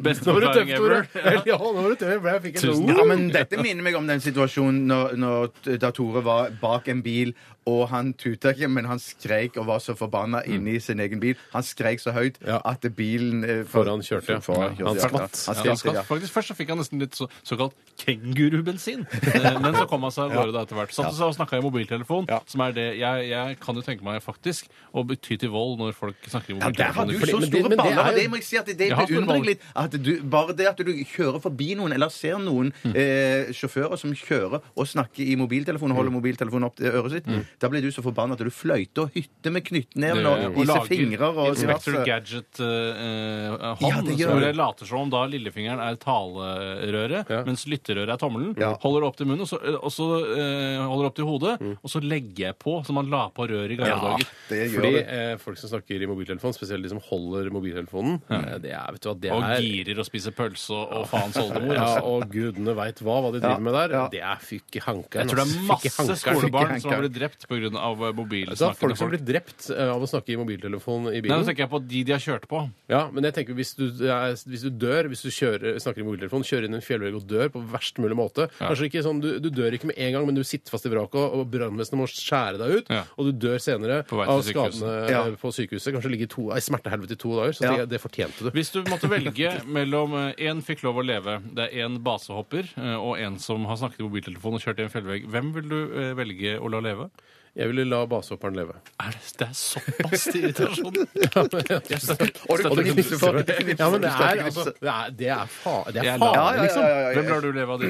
Beste
Nå var du
forklaring
tøff, Tore.
ever.
Eller, Ja, nå var du tøff. for Jeg fikk en
Ja, men dette minner meg om den situasjonen når, når, da Tore var bak en bil, og han tuta ikke, men han skreik og var så forbanna inni sin egen bil. Han skreik så høyt
Mm. Ja.
at bilen eh, for-
Foran kjørte, ja.
foran kjørte,
Han
ja.
skvatt.
Han
Ja,
skvatt,
han skal,
ja.
faktisk, først så fikk han nesten litt så, såkalt kengurubensin. Eh, Men så kom han seg av gårde da etter hvert. Satt og snakka i mobiltelefon, som er det jeg, jeg kan jo tenke meg faktisk å bety til vold når folk snakker i
Ja, der hadde
mobiltelefon.
du
Fordi-
så
men det- men
store
det er
baller.
jo-
Det må jeg si at det, det
Jeg har store
beundrer jeg
baller.
litt. At du, bare det at du kjører forbi noen, eller ser noen eh, sjåfører som kjører og snakker i mobiltelefonen, holder mobiltelefonen opp til øret sitt, Da ble du så forbanna at du fløyte og hytte med knyttneven
Det-
og
og
disse
lager
fingre og
Inspector
diverse. Ja,
Gadget-hånd.
det gjør
hvor
det.
det later som om da lillefingeren er talerøret,
Ja.
mens lytterøret er tommelen.
Ja. Mm.
Holder opp til munnen, og så, og så eh, holder opp til hodet, og så legger jeg på som man la på røret i gamle dager.
Det gjør
Fordi
det.
eh, folk som snakker i mobiltelefon, spesielt de som holder mobiltelefonen, eh, det er, vet du hva, det
Og
er
girer og spiser pølse og, og faens oldemor.
ja,
altså.
og gudene veit hva, hva de driver med der. Det er fykki hankeren.
Jeg tror det
ass.
er
Fykki
masse
hankeren.
skolebarn som har
altså, hankeren. Altså,
blitt drept pga.
Det er folk
mobilsnakkende
som
folk.
blir drept eh, av å snakke i mobiltelefon i
Nei, nå
bilen.
tenker jeg på de de har kjørt på.
Ja, men jeg tenker hvis du, er, hvis du dør, hvis du kjører, snakker i mobiltelefon, kjører inn i en fjellvegg og dør på verst mulig måte Kanskje ikke sånn, du, du dør ikke med en gang, men du sitter fast i vraket, og brannvesenet må skjære deg ut,
Ja.
og du dør senere
På vei til
av
sykehuset.
skadene
Ja.
eh, på sykehuset. Kanskje ligger i to, i smertehelvete i to dager. Så
Ja.
tenker jeg, det fortjente du.
Hvis du måtte velge mellom eh, én fikk lov å leve, det er én basehopper, eh, og én som har snakket i mobiltelefon og kjørt i en fjellvegg, hvem vil du eh, velge å la leve?
Jeg ville la basehopperen leve.
Er det, det er såpass til irritasjon! Jeg støtter-
Og du
støtter-
knipser for- du knipser
Ja, men det
for-
er altså Det er, det er, fa, det er
Jeg
farlig,
lar-
ja, ja,
liksom.
ja, ja, ja.
Hvem lar du leve av de?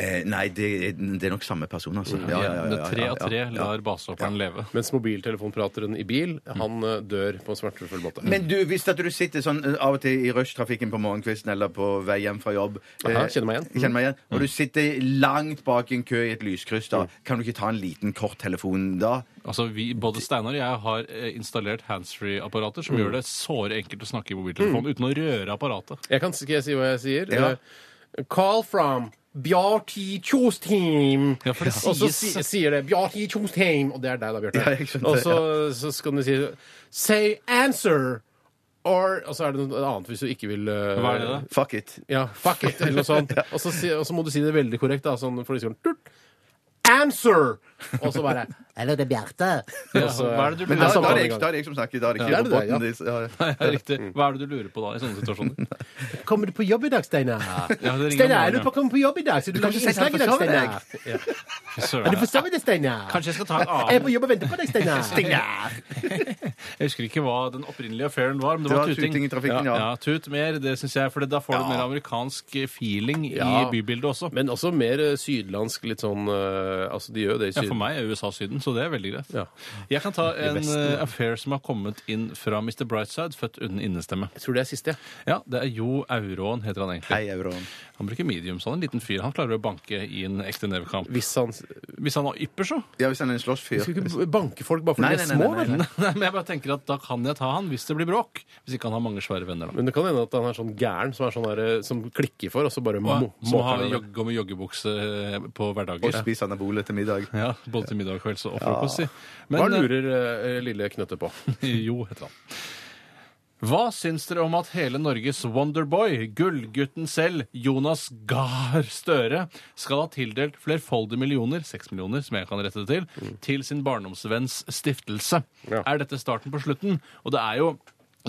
Eh, Nei, det, det er nok samme person, altså. Ja, ja, ja, ja,
Det er Tre av tre
ja, ja.
lar basehopperen leve.
Mens mobiltelefonprateren i bil,
Mm.
han eh, dør på en smertefull måte.
Men du, hvis at du sitter sånn eh, av og til i rushtrafikken på morgenkvisten eller på vei hjem fra jobb
Aha,
eh,
kjenner meg igjen.
Kjenner meg igjen. Og du sitter langt bak i en kø i et lyskryss, da. Kan du ikke ta en liten kort telefon da?
Altså, vi, Både Steinar og jeg har eh, installert handsfree-apparater som gjør det såre enkelt å snakke i mobiltelefonen uten å røre apparatet.
Jeg kan, skal jeg si hva jeg sier?
Ja.
Eh, Call from Bjarti Tjostheim.
Ja, for det
Og så si,
sies-
sier det Bjarti Tjostheim, og det er deg da, Bjarte.
Ja, jeg skjønte
og
det,
så, så skal du si Say answer or Og så er det noe annet hvis du ikke vil eh,
Hva er det da?
Fuck it.
Ja, fuck it, eller noe sånt. Og så, si, og så må du si det veldig korrekt, da, sånn for de skal tut, Answer! Og så bare
Hallo, det er Bjarte.
Ja, hva er det du
Men
er
da, da,
lurer på?
er
samtalen
det
i
jeg,
gang.
da er det jeg som snakker. Da er det ikke
Ja, det er det,
roboten din. Ja. Ja.
Ja, Riktig. Hva er det du lurer på da, i sånne situasjoner?
Kommer du på jobb i dag, Steinar?
Ja, det ringer
Steinar,
morgenen,
er du
ja.
på å komme på jobb i dag? Så du,
kan
lager
ikke si at
innslag i
sånn,
du
dag,
forsover deg.
Steinar? Ja. Er du forsovet deg, Steinar?
Kanskje jeg skal ta en annen
Jeg er på jobb og venter på deg, Steinar.
Jeg husker ikke hva den opprinnelige affæren var, men det,
Det
var
var
tuting.
tuting i trafikken, ja.
Tut mer, det syns jeg, for da får du mer amerikansk eh, feeling
Ja.
i bybildet også.
Men også mer eh, sydlandsk, litt sånn eh, Altså, de gjør jo det i
Ja,
Syden.
for meg er USA Syden, så det er veldig greit.
Ja.
Jeg kan ta en
Vesten,
eh, affair som har kommet inn fra Mr. Brightside, født uten innestemme.
Jeg tror det er siste, ja.
Ja, det er Jo Auråen, heter han egentlig.
Hei, Euron.
Han bruker medium, så han er en liten fyr. Han klarer å banke i en ekte nevekamp.
Hvis han
Hvis han var ypper, så.
Ja, hvis han er en slåssfyr.
Skal ikke banke folk bare fordi
Nei,
de er
nei, nei,
små,
nei,
vel?
nei.
Nei, men jeg bare tenker at da kan jeg ta han hvis det blir bråk. Hvis ikke han har mange svære venner, da.
Men det kan hende at han er sånn gæren som, er sånn der, eh, som klikker for, og så bare må,
Som
måker
har
han.
jogg- gå med joggebukse eh, på
Og
hverdager.
spiser anabole til middag.
Ja, Både til middag og kvelds og frokost. si. Men,
Hva lurer eh, lille Knøtte på?
Jo, heter han. Hva syns dere om at hele Norges Wonderboy, gullgutten selv, Jonas Gahr Støre, skal ha tildelt flerfoldige millioner, seks millioner, som jeg kan rette det til, til sin barndomsvenns stiftelse?
Ja.
Er dette starten på slutten? Og det er jo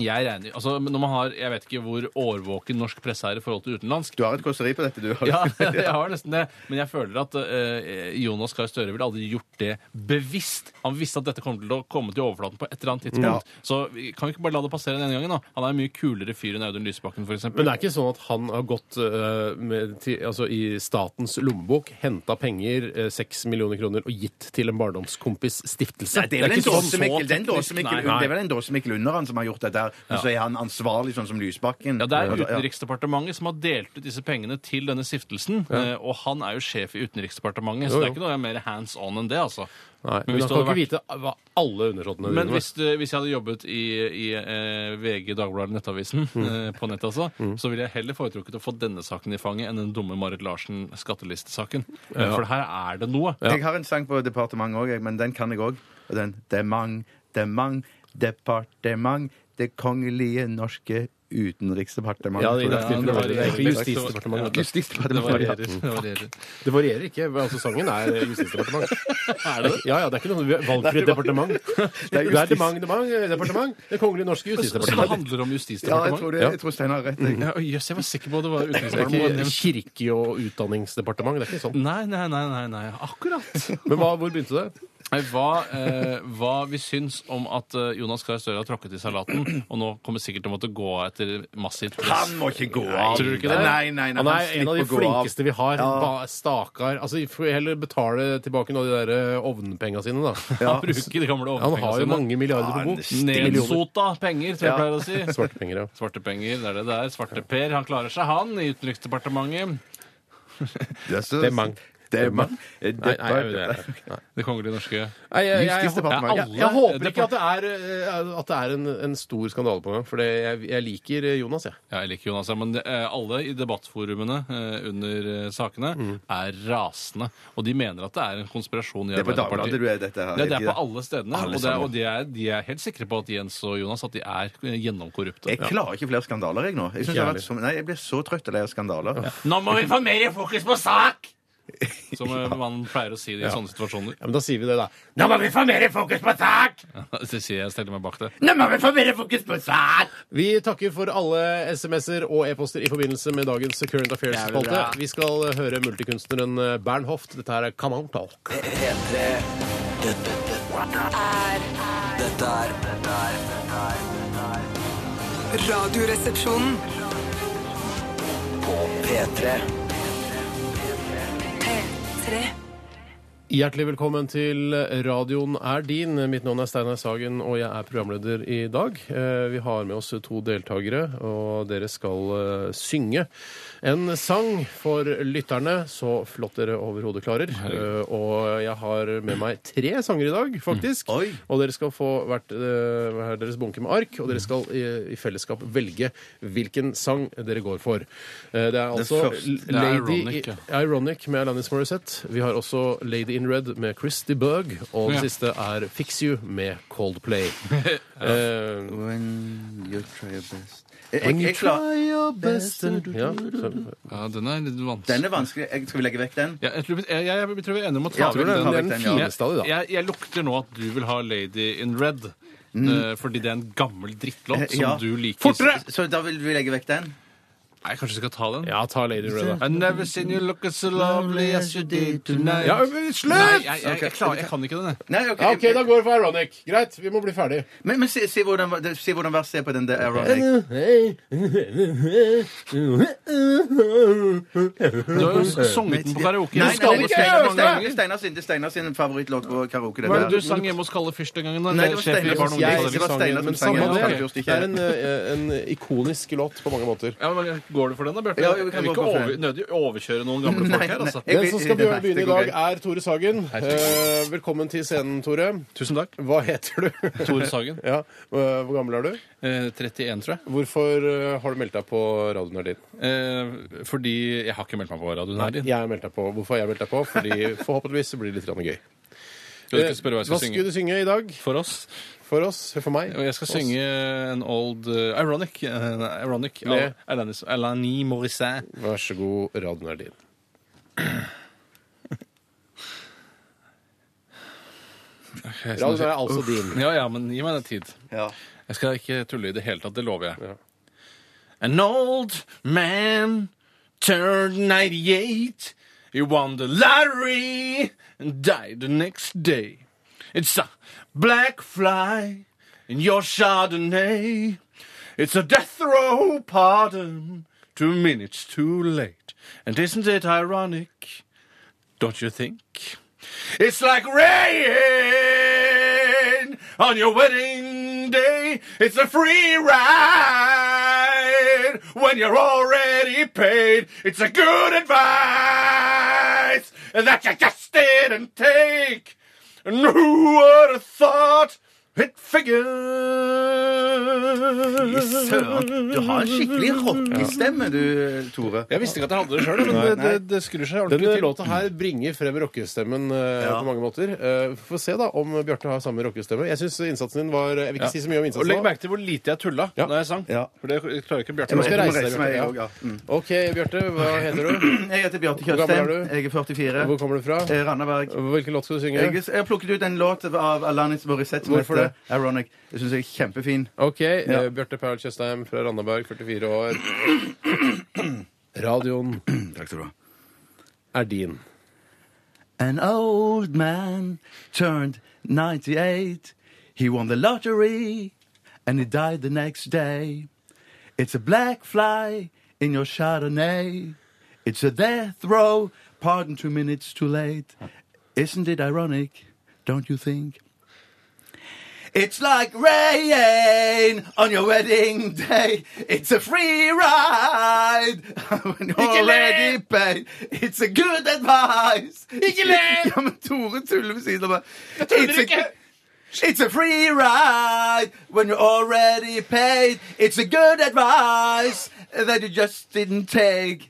jeg regner, altså når man har, jeg vet ikke hvor årvåken norsk presse er i forhold til utenlandsk,
Du har et kåseri på dette, du. har-
ja, jeg har nesten det. Men jeg føler at eh, Jonas Gahr Støre ville aldri gjort det bevisst. Han visste at dette kom til å komme til overflaten på et eller annet tidspunkt. Så vi kan vi ikke bare la det passere den ene gangen? da? Han er en mye kulere fyr enn Audun Lysbakken, f.eks.
Men det er ikke sånn at han har gått eh, med, til, altså, i statens lommebok, henta penger, eh, seks millioner kroner, og gitt til en barndomskompis stiftelse?
Nei, det er vel en
ikke sånn-
dåsemikkel det er en
teknisk,
dåsemikkel-
nei.
det er vel en dåsemikkel under han som har gjort dette her, men så er han ansvarlig sånn som Lysbakken.
Ja, Det er
Ja.
Utenriksdepartementet som har delt ut disse pengene til denne stiftelsen. eh, Og han er jo sjef i Utenriksdepartementet, så
Jo,
det er
jo.
ikke noe mer hands on enn det. altså.
Nei,
Men
men
hvis
han
du
kan
hadde
ikke vite hva alle undersåttene
Men
driver med.
hvis, du, hvis jeg hadde jobbet i, i eh, VG, Dagbladet, Nettavisen, eh, på nett altså, så ville jeg heller foretrukket å få denne saken i fanget enn den dumme Marit Larsen skattelistesaken. Eh, For her er det noe.
Jeg har en sang på departementet òg, men den kan jeg òg. Og den Demang, demang, departement, det kongelige norske utenriksdepartementet.
Ja, det er
Ja,
det varierer.
varierer.
Det er ikke Justisdepartementet.
Det
Justisdepartementet. ja.
varierer. Det varierer.
Det varierer ikke. Altså, sangen er Justisdepartementet. er det? Ja, ja, det er ikke noe valgfritt departement. Det er
justis.
demang, demang, departement. Det kongelige norske
Så så det
justisdepartementet.
handler om
Ja, jeg tror,
Justisdepartementet?
det, jeg tror Steinar har rett. Jeg.
Ja, Jøss, jeg var sikker på at det var
Det er ikke
Utenriksdepartementet.
kirke- og utdanningsdepartement. Det er ikke sånn.
Nei, nei, nei, nei, nei, akkurat.
Men hva, hvor begynte det?
Nei, Hva, eh, hva vi syns om at eh, Jonas Gahr Støre har tråkket i salaten, og nå kommer sikkert til å måtte gå av etter massivt press.
Han må ikke gå av.
Tror du ikke det?
Nei, nei, nei,
Han er
slipper
en av de
å gå av.
flinkeste vi har.
Ja.
Ba- Stakkar. Altså, vi får heller betale tilbake noen av de der eh, ovnpenga sine, da.
Han bruker de gamle
Han
overpengene
har jo mange milliarder på bok.
Nedsota penger, tror jeg pleier å si.
Svarte penger, ja.
Svarte penger, det er det det er. Svarte Per, han klarer seg, han, i Utenriksdepartementet.
Det er, så-
Det er mang.
Det er mang. Det
Nei, nei,
er-
det er-
Det kongelige norske.
Nei, jeg, jeg, jeg,
Justisdepartementet.
jeg, jeg, jeg håper ikke at det er, eh, at det er en, en stor skandale på gang, for det- jeg, jeg liker eh, Jonas, jeg.
Ja, jeg liker Jonas, ja, men det, eh, alle i debattforumene eh, under eh, sakene
Mm.
er rasende. Og de mener at det er en konspirasjon i
Det er på
Arbeiderpartiet.
Dagbladet du er dette her.
Nei, det er
ikke
på alle stedene.
Alle
og det er,
sammen.
og de, er, de er helt sikre på at Jens og Jonas at de er eh, gjennomkorrupte.
Jeg klarer ikke flere skandaler, jeg nå. Jeg, synes det har vært så, nei, jeg blir så trøtt av de her skandaler.
Nå må vi få mer fokus på sak! Som eh, man pleier å si i sånne situasjoner.
Ja, men da sier vi det, da.
Nå må vi få mer fokus på sak!
Det sier jeg steller meg bak det.
Nå må vi få mer fokus på sak!
Vi takker for alle SMS-er og e-poster i forbindelse med dagens Current
Jævlig
Affairs-spalte.
bra.
Vi skal eh, høre multikunstneren eh, Bernhoft. Dette her er Come On Talk.
P3 Dette, dette er Dette er Dette er dette er- dette er
Radioresepsjonen.
På P3
P3.
Hjertelig velkommen til Radioen er din. Mitt navn er Steinar Sagen, og jeg er programleder i dag. Eh, Vi har med oss to deltakere, og dere skal eh, synge en sang for lytterne. Så flott dere overhodet klarer. Eh, Og jeg har med meg tre sanger i dag, faktisk.
Mm.
Oi.
Og dere skal få hvert, eh, hver deres bunke med ark, og dere skal i, i fellesskap velge hvilken sang dere går for. Eh, Det er altså
første-
det er
Lady
Ironic, ja.
Ironic med Alanis Morissette. Vi har også Lady in Red med Christy Berg. Og den
Ja.
siste er Fix You med Coldplay. Eh,
When you try your best Jeg,
When
jeg,
you
jeg klarer
ja, så,
Ja, den er litt
Den
vanskelig.
er vanskelig. Jeg, skal vi legge vekk den?
Ja, jeg, tror, vi- jeg, jeg, jeg tror vi er enige om å ta
Jeg tror
vekk
det er
den.
en
det er den fineste av de, da.
Jeg, jeg lukter nå at du vil ha Lady in Red. eh, Fordi det er en gammel drittlåt som
Mm. Eh, Ja.
du liker.
Så da vil vi legge vekk den?
Nei, kanskje vi skal ta den?
Ja, ta Lady in Red, da.
I never seen you look so lovely as you did tonight.
Ja, men slutt!
Nei, jeg, jeg, jeg, klarer, jeg kan ikke den, jeg.
Nei, ok,
Ja, Ah, OK, da går vi for Ironic. Greit, vi må bli ferdig.
Men, men si, si hvordan, si hvordan verset er på den der
Eh,
Ironic.
Du har jo sunget den på karaoke.
Nei,
Du
nei,
skal
nei,
jo
Steinar-
synge mange
Steinar-
ganger.
Steinar sin, det er Steinar sin favorittlåt på karaoke.
Hva
Det
er det
der.
du sang hjemme hos Kalle Fyrst den gangen? da?
Nei, det var
Sjef i
Steinar
Barne-
som-
og
Jeg
ungdomsavdelingen.
det var
sang
Steinar
den, men
som sang
samme
den.
det.
Ja, ok.
Det er en, eh, en ikonisk låt på mange måter.
Ja, men Går du for den da, Bjarte?
Ja,
jeg
vi kan
vil
gå
ikke
for den.
over, nødig overkjøre noen gamle folk
Nei,
her, altså.
nei.
Den som skal
Det er
begynne i
verste,
dag, er Tore Sagen. Eh, velkommen til scenen, Tore.
Tusen takk.
Hva heter du?
Tore Sagen.
Ja, eh, Hvor gammel er du?
Eh, 31, tror jeg.
Hvorfor eh, har du meldt deg på radioen her din?
Eh, fordi jeg har ikke meldt meg på radioen her. din.
Jeg har meldt deg på. Hvorfor har jeg meldt deg på? Fordi forhåpentligvis så blir det litt grann gøy. Eh,
Skal du ikke spørre hva jeg skal synge?
skulle du synge i dag?
For oss.
For oss? For meg?
Og jeg skal
Oss?
synge en old eh, Ironic. eh, nei, ironic
Med-
av Alanis, Alanis Morissette.
Vær så god, radioen er din. Radioen er altså din.
Ja, ja, men gi meg den tid.
Ja.
Jeg skal ikke tulle i det hele tatt, det lover jeg. An old man turned 98. He won the lottery and died the next day. It's a black fly in your Chardonnay. It's a death row pardon, two minutes too late. And isn't it ironic? Don't you think? It's like rain on your wedding day. It's a free ride when you're already paid. It's a good advice that you just didn't take. And who would have thought it
Fy
figures?
Søren, du har en skikkelig rockestemme, du, Tore.
Jeg visste ikke at jeg hadde det sjøl, men
Nei,
det,
nei.
det, det skrur seg ordentlig
Denne
til.
låta her bringer frem rockestemmen eh,
Ja.
på mange måter. Eh, Få se da om Bjarte har samme rockestemme. Jeg syns innsatsen din var Jeg vil ikke si så mye om
Og legg
innsatsen. nå.
merke til hvor lite jeg tulla
Ja.
når jeg sang.
Ja.
For det klarer ikke Bjarte.
Jeg må
Nå.
skal reise deg,
meg, jeg
Bjarte.
også, ja. Mm.
Ja. OK, Bjarte. Hva heter du?
Jeg heter Bjarte
Hvor gammel er
Tjøstheim.
du?
Jeg er 44.
Hvor kommer du fra?
Eh, Randaberg.
Hvilken låt skal du synge?
Jeg, jeg har plukket ut en låt av Alanis Morissette som
Hvorfor
heter Ironic. Jeg syns jeg er kjempefin.
OK. eh, Bjarte Paul Tjøstheim fra Randaberg, 44 år. Radioen
Takk skal du ha.
er din.
An old man turned 98. He won the lottery and he died the next day. It's a black fly in your Chardonnay. It's a death row, pardon two minutes too late. Isn't it ironic? Don't you think? It's like rain on your wedding day. It's a free ride when you're already paid. It's a good advice. Ikke le! Ja, men Tore tuller ved siden av meg. It's a- It's a free ride when you're already paid. It's a good advice that you just didn't take.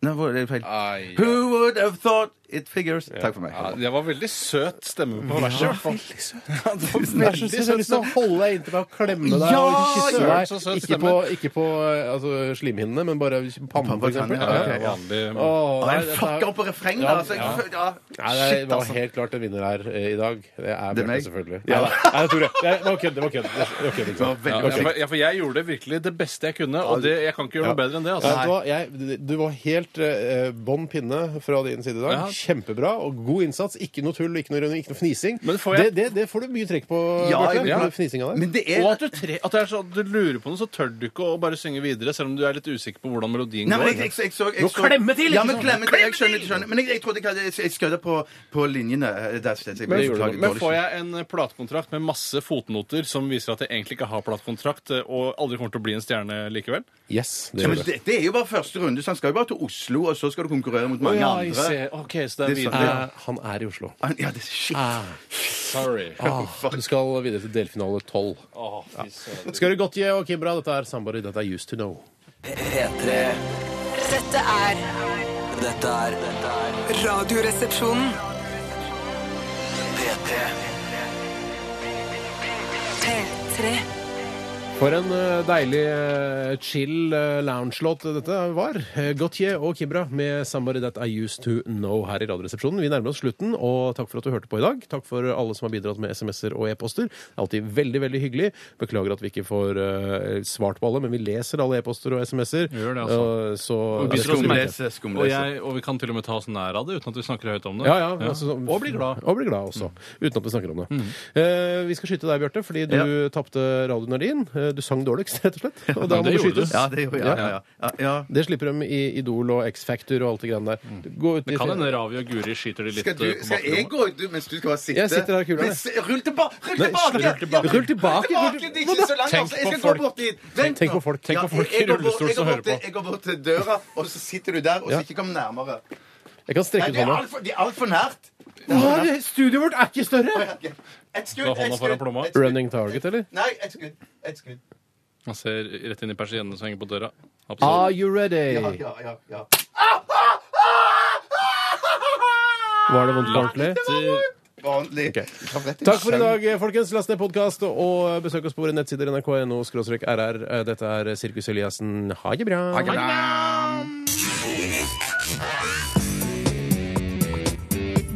Nå var det feil.
Ai, ja.
Who would have thought it figures? Takk for meg.
Ja, det var veldig søt stemme på verset. i hvert fall. Ja, det var
Jeg synes jeg har lyst til å holde deg inntil meg og klemme deg
Ja,
og kysse
søren,
deg.
så søt
Ikke på, ikke på eh, altså, slimhinnene, men bare pannen, for eksempel.
ja,
Ja,
ok,
ja.
Vanlig
Åh, nei,
Jeg
dette er-
fucker opp på refrenget,
Ja,
altså.
ja.
Jeg, ja.
Nei, det
Shit,
var
altså.
helt klart en vinner her eh, i dag. Det er
Det er
Bjarte,
meg.
selvfølgelig. Ja, da. Nei, det er Tore. Det var kødd. Det var kødd. Det var kødd, ikke
Det var
sant?
veldig
Ja, for, ja, for jeg gjorde det virkelig det beste jeg kunne, og det, jeg kan ikke gjøre noe bedre enn det.
Ja,
altså.
vet du, hva? jeg, du var helt eh, bånn pinne fra din side i dag.
Ja.
Kjempebra og god innsats. Ikke noe tull, ikke noe rønning, ikke noe fnising.
Men får jeg-
det, det, det får du mye trekk på,
Ja,
Bjarte.
jeg-
den Fnisinga der.
Men det
Og
er
at du, tre, at det er sånn at du lurer på noe, så tør du ikke å bare synge videre, selv om du er litt usikker på hvordan melodien
Nei, men
går.
jeg, jeg, jeg, så, jeg, så,
klemme til, ikke
Ja, men
sant?
klemme til!
Klemme
Jeg skjønner,
til!
jeg skjønner. Men jeg, jeg trodde ikke jeg, jeg skjønte på, på linjene. eh, Der, så jeg,
Men,
jeg, beklager,
men
dårlig
får jeg en eh, platekontrakt med masse fotnoter som viser at jeg egentlig ikke har platekontrakt, eh, og aldri kommer til å bli en stjerne likevel?
Yes, det
Ja, men
gjør det.
det, det er jo bare første runde, så han skal jo bare til Oslo, og så skal du konkurrere mot mange
Ja, jeg
andre.
ser. OK, så det er
Det er sant,
videre.
Eh, han er i Oslo. Ah,
Han- Ja, det er shit.
Ah. Sorry.
Du skal videre til delfinale tolv.
Å, fy søren.
Skal du godt gi og Kimbra, dette er Somebody That I Used To Know.
P3.
Dette er
Dette er dette er
Radioresepsjonen.
P3.
P3.
For en eh, deilig eh, chill eh, lounge-låt dette var. Eh, Gautier og Kibra med 'Somebody That I Used To Know' her i Radioresepsjonen. Vi nærmer oss slutten, og takk for at du hørte på i dag. Takk for alle som har bidratt med SMS-er og e-poster. Det er Alltid veldig, veldig hyggelig. Beklager at vi ikke får eh, svart på alle, men vi leser alle e-poster og SMS-er.
gjør det, altså.
Eh, så Ja,
Og
det skal vi gjøre.
Skumlese,
Og,
skumlese.
jeg, og vi kan til og med ta oss nær av det uten at vi snakker høyt om det.
Ja, ja, altså, så-
Og bli glad. Mm.
Og bli glad også. Uten at vi snakker om det. Eh, vi skal skyte deg, Bjarte, fordi du
Ja.
tapte radionardien. Eh, du sang dårligst, rett og slett. Og da
Ja,
må
det
du
gjorde du.
skytes.
Ja, det er jo ja, ja, ja. ja, ja.
Det slipper de i Idol og X-Factor og alt det greiene der.
Mm.
Gå ut i
Kan hende Ravi og Guri skyter de litt
Skal, du,
eh, på
skal jeg
bakrommet.
gå ut du, mens du skal bare sitte?
Jeg sitter her i kula,
Men se- Rull tilbake! Rull tilbake!
rull tilbake.
Ja,
Rull tilbake, rull til-
Det er ikke så langt,
Tenk
altså. Jeg
på
skal gå
folk.
bort dit. Vent
Tenk på
nå.
folk. Tenk
Ja,
på folk i
jeg går bort-
rullestol
jeg går
som
bort
hører på.
til- Jeg går bort til døra, og så sitter du der, og så
Ja. sånn,
ikke kom nærmere.
Jeg kan
Nei,
strekke ut
det er
hånda.
altfor alt nært.
Studioet vårt er ikke større!
Et skudd,
Du har hånda
et
foran
skudd.
plomma.
et skudd.
Running target, eller?
Nei, et skudd. Et skudd.
Han ser rett inn i persiennene som henger på døra. Absolutt.
Are you ready?
Ja, ja, ja.
Ah,
ja.
Var ah! det vondt på ordentlig?
Vanlig.
Takk for i dag, folkens. Last ned podkast og besøk oss på våre nettsider nrk.no rr. Dette er Sirkus Eliassen. Ha det bra.
Ha det bra.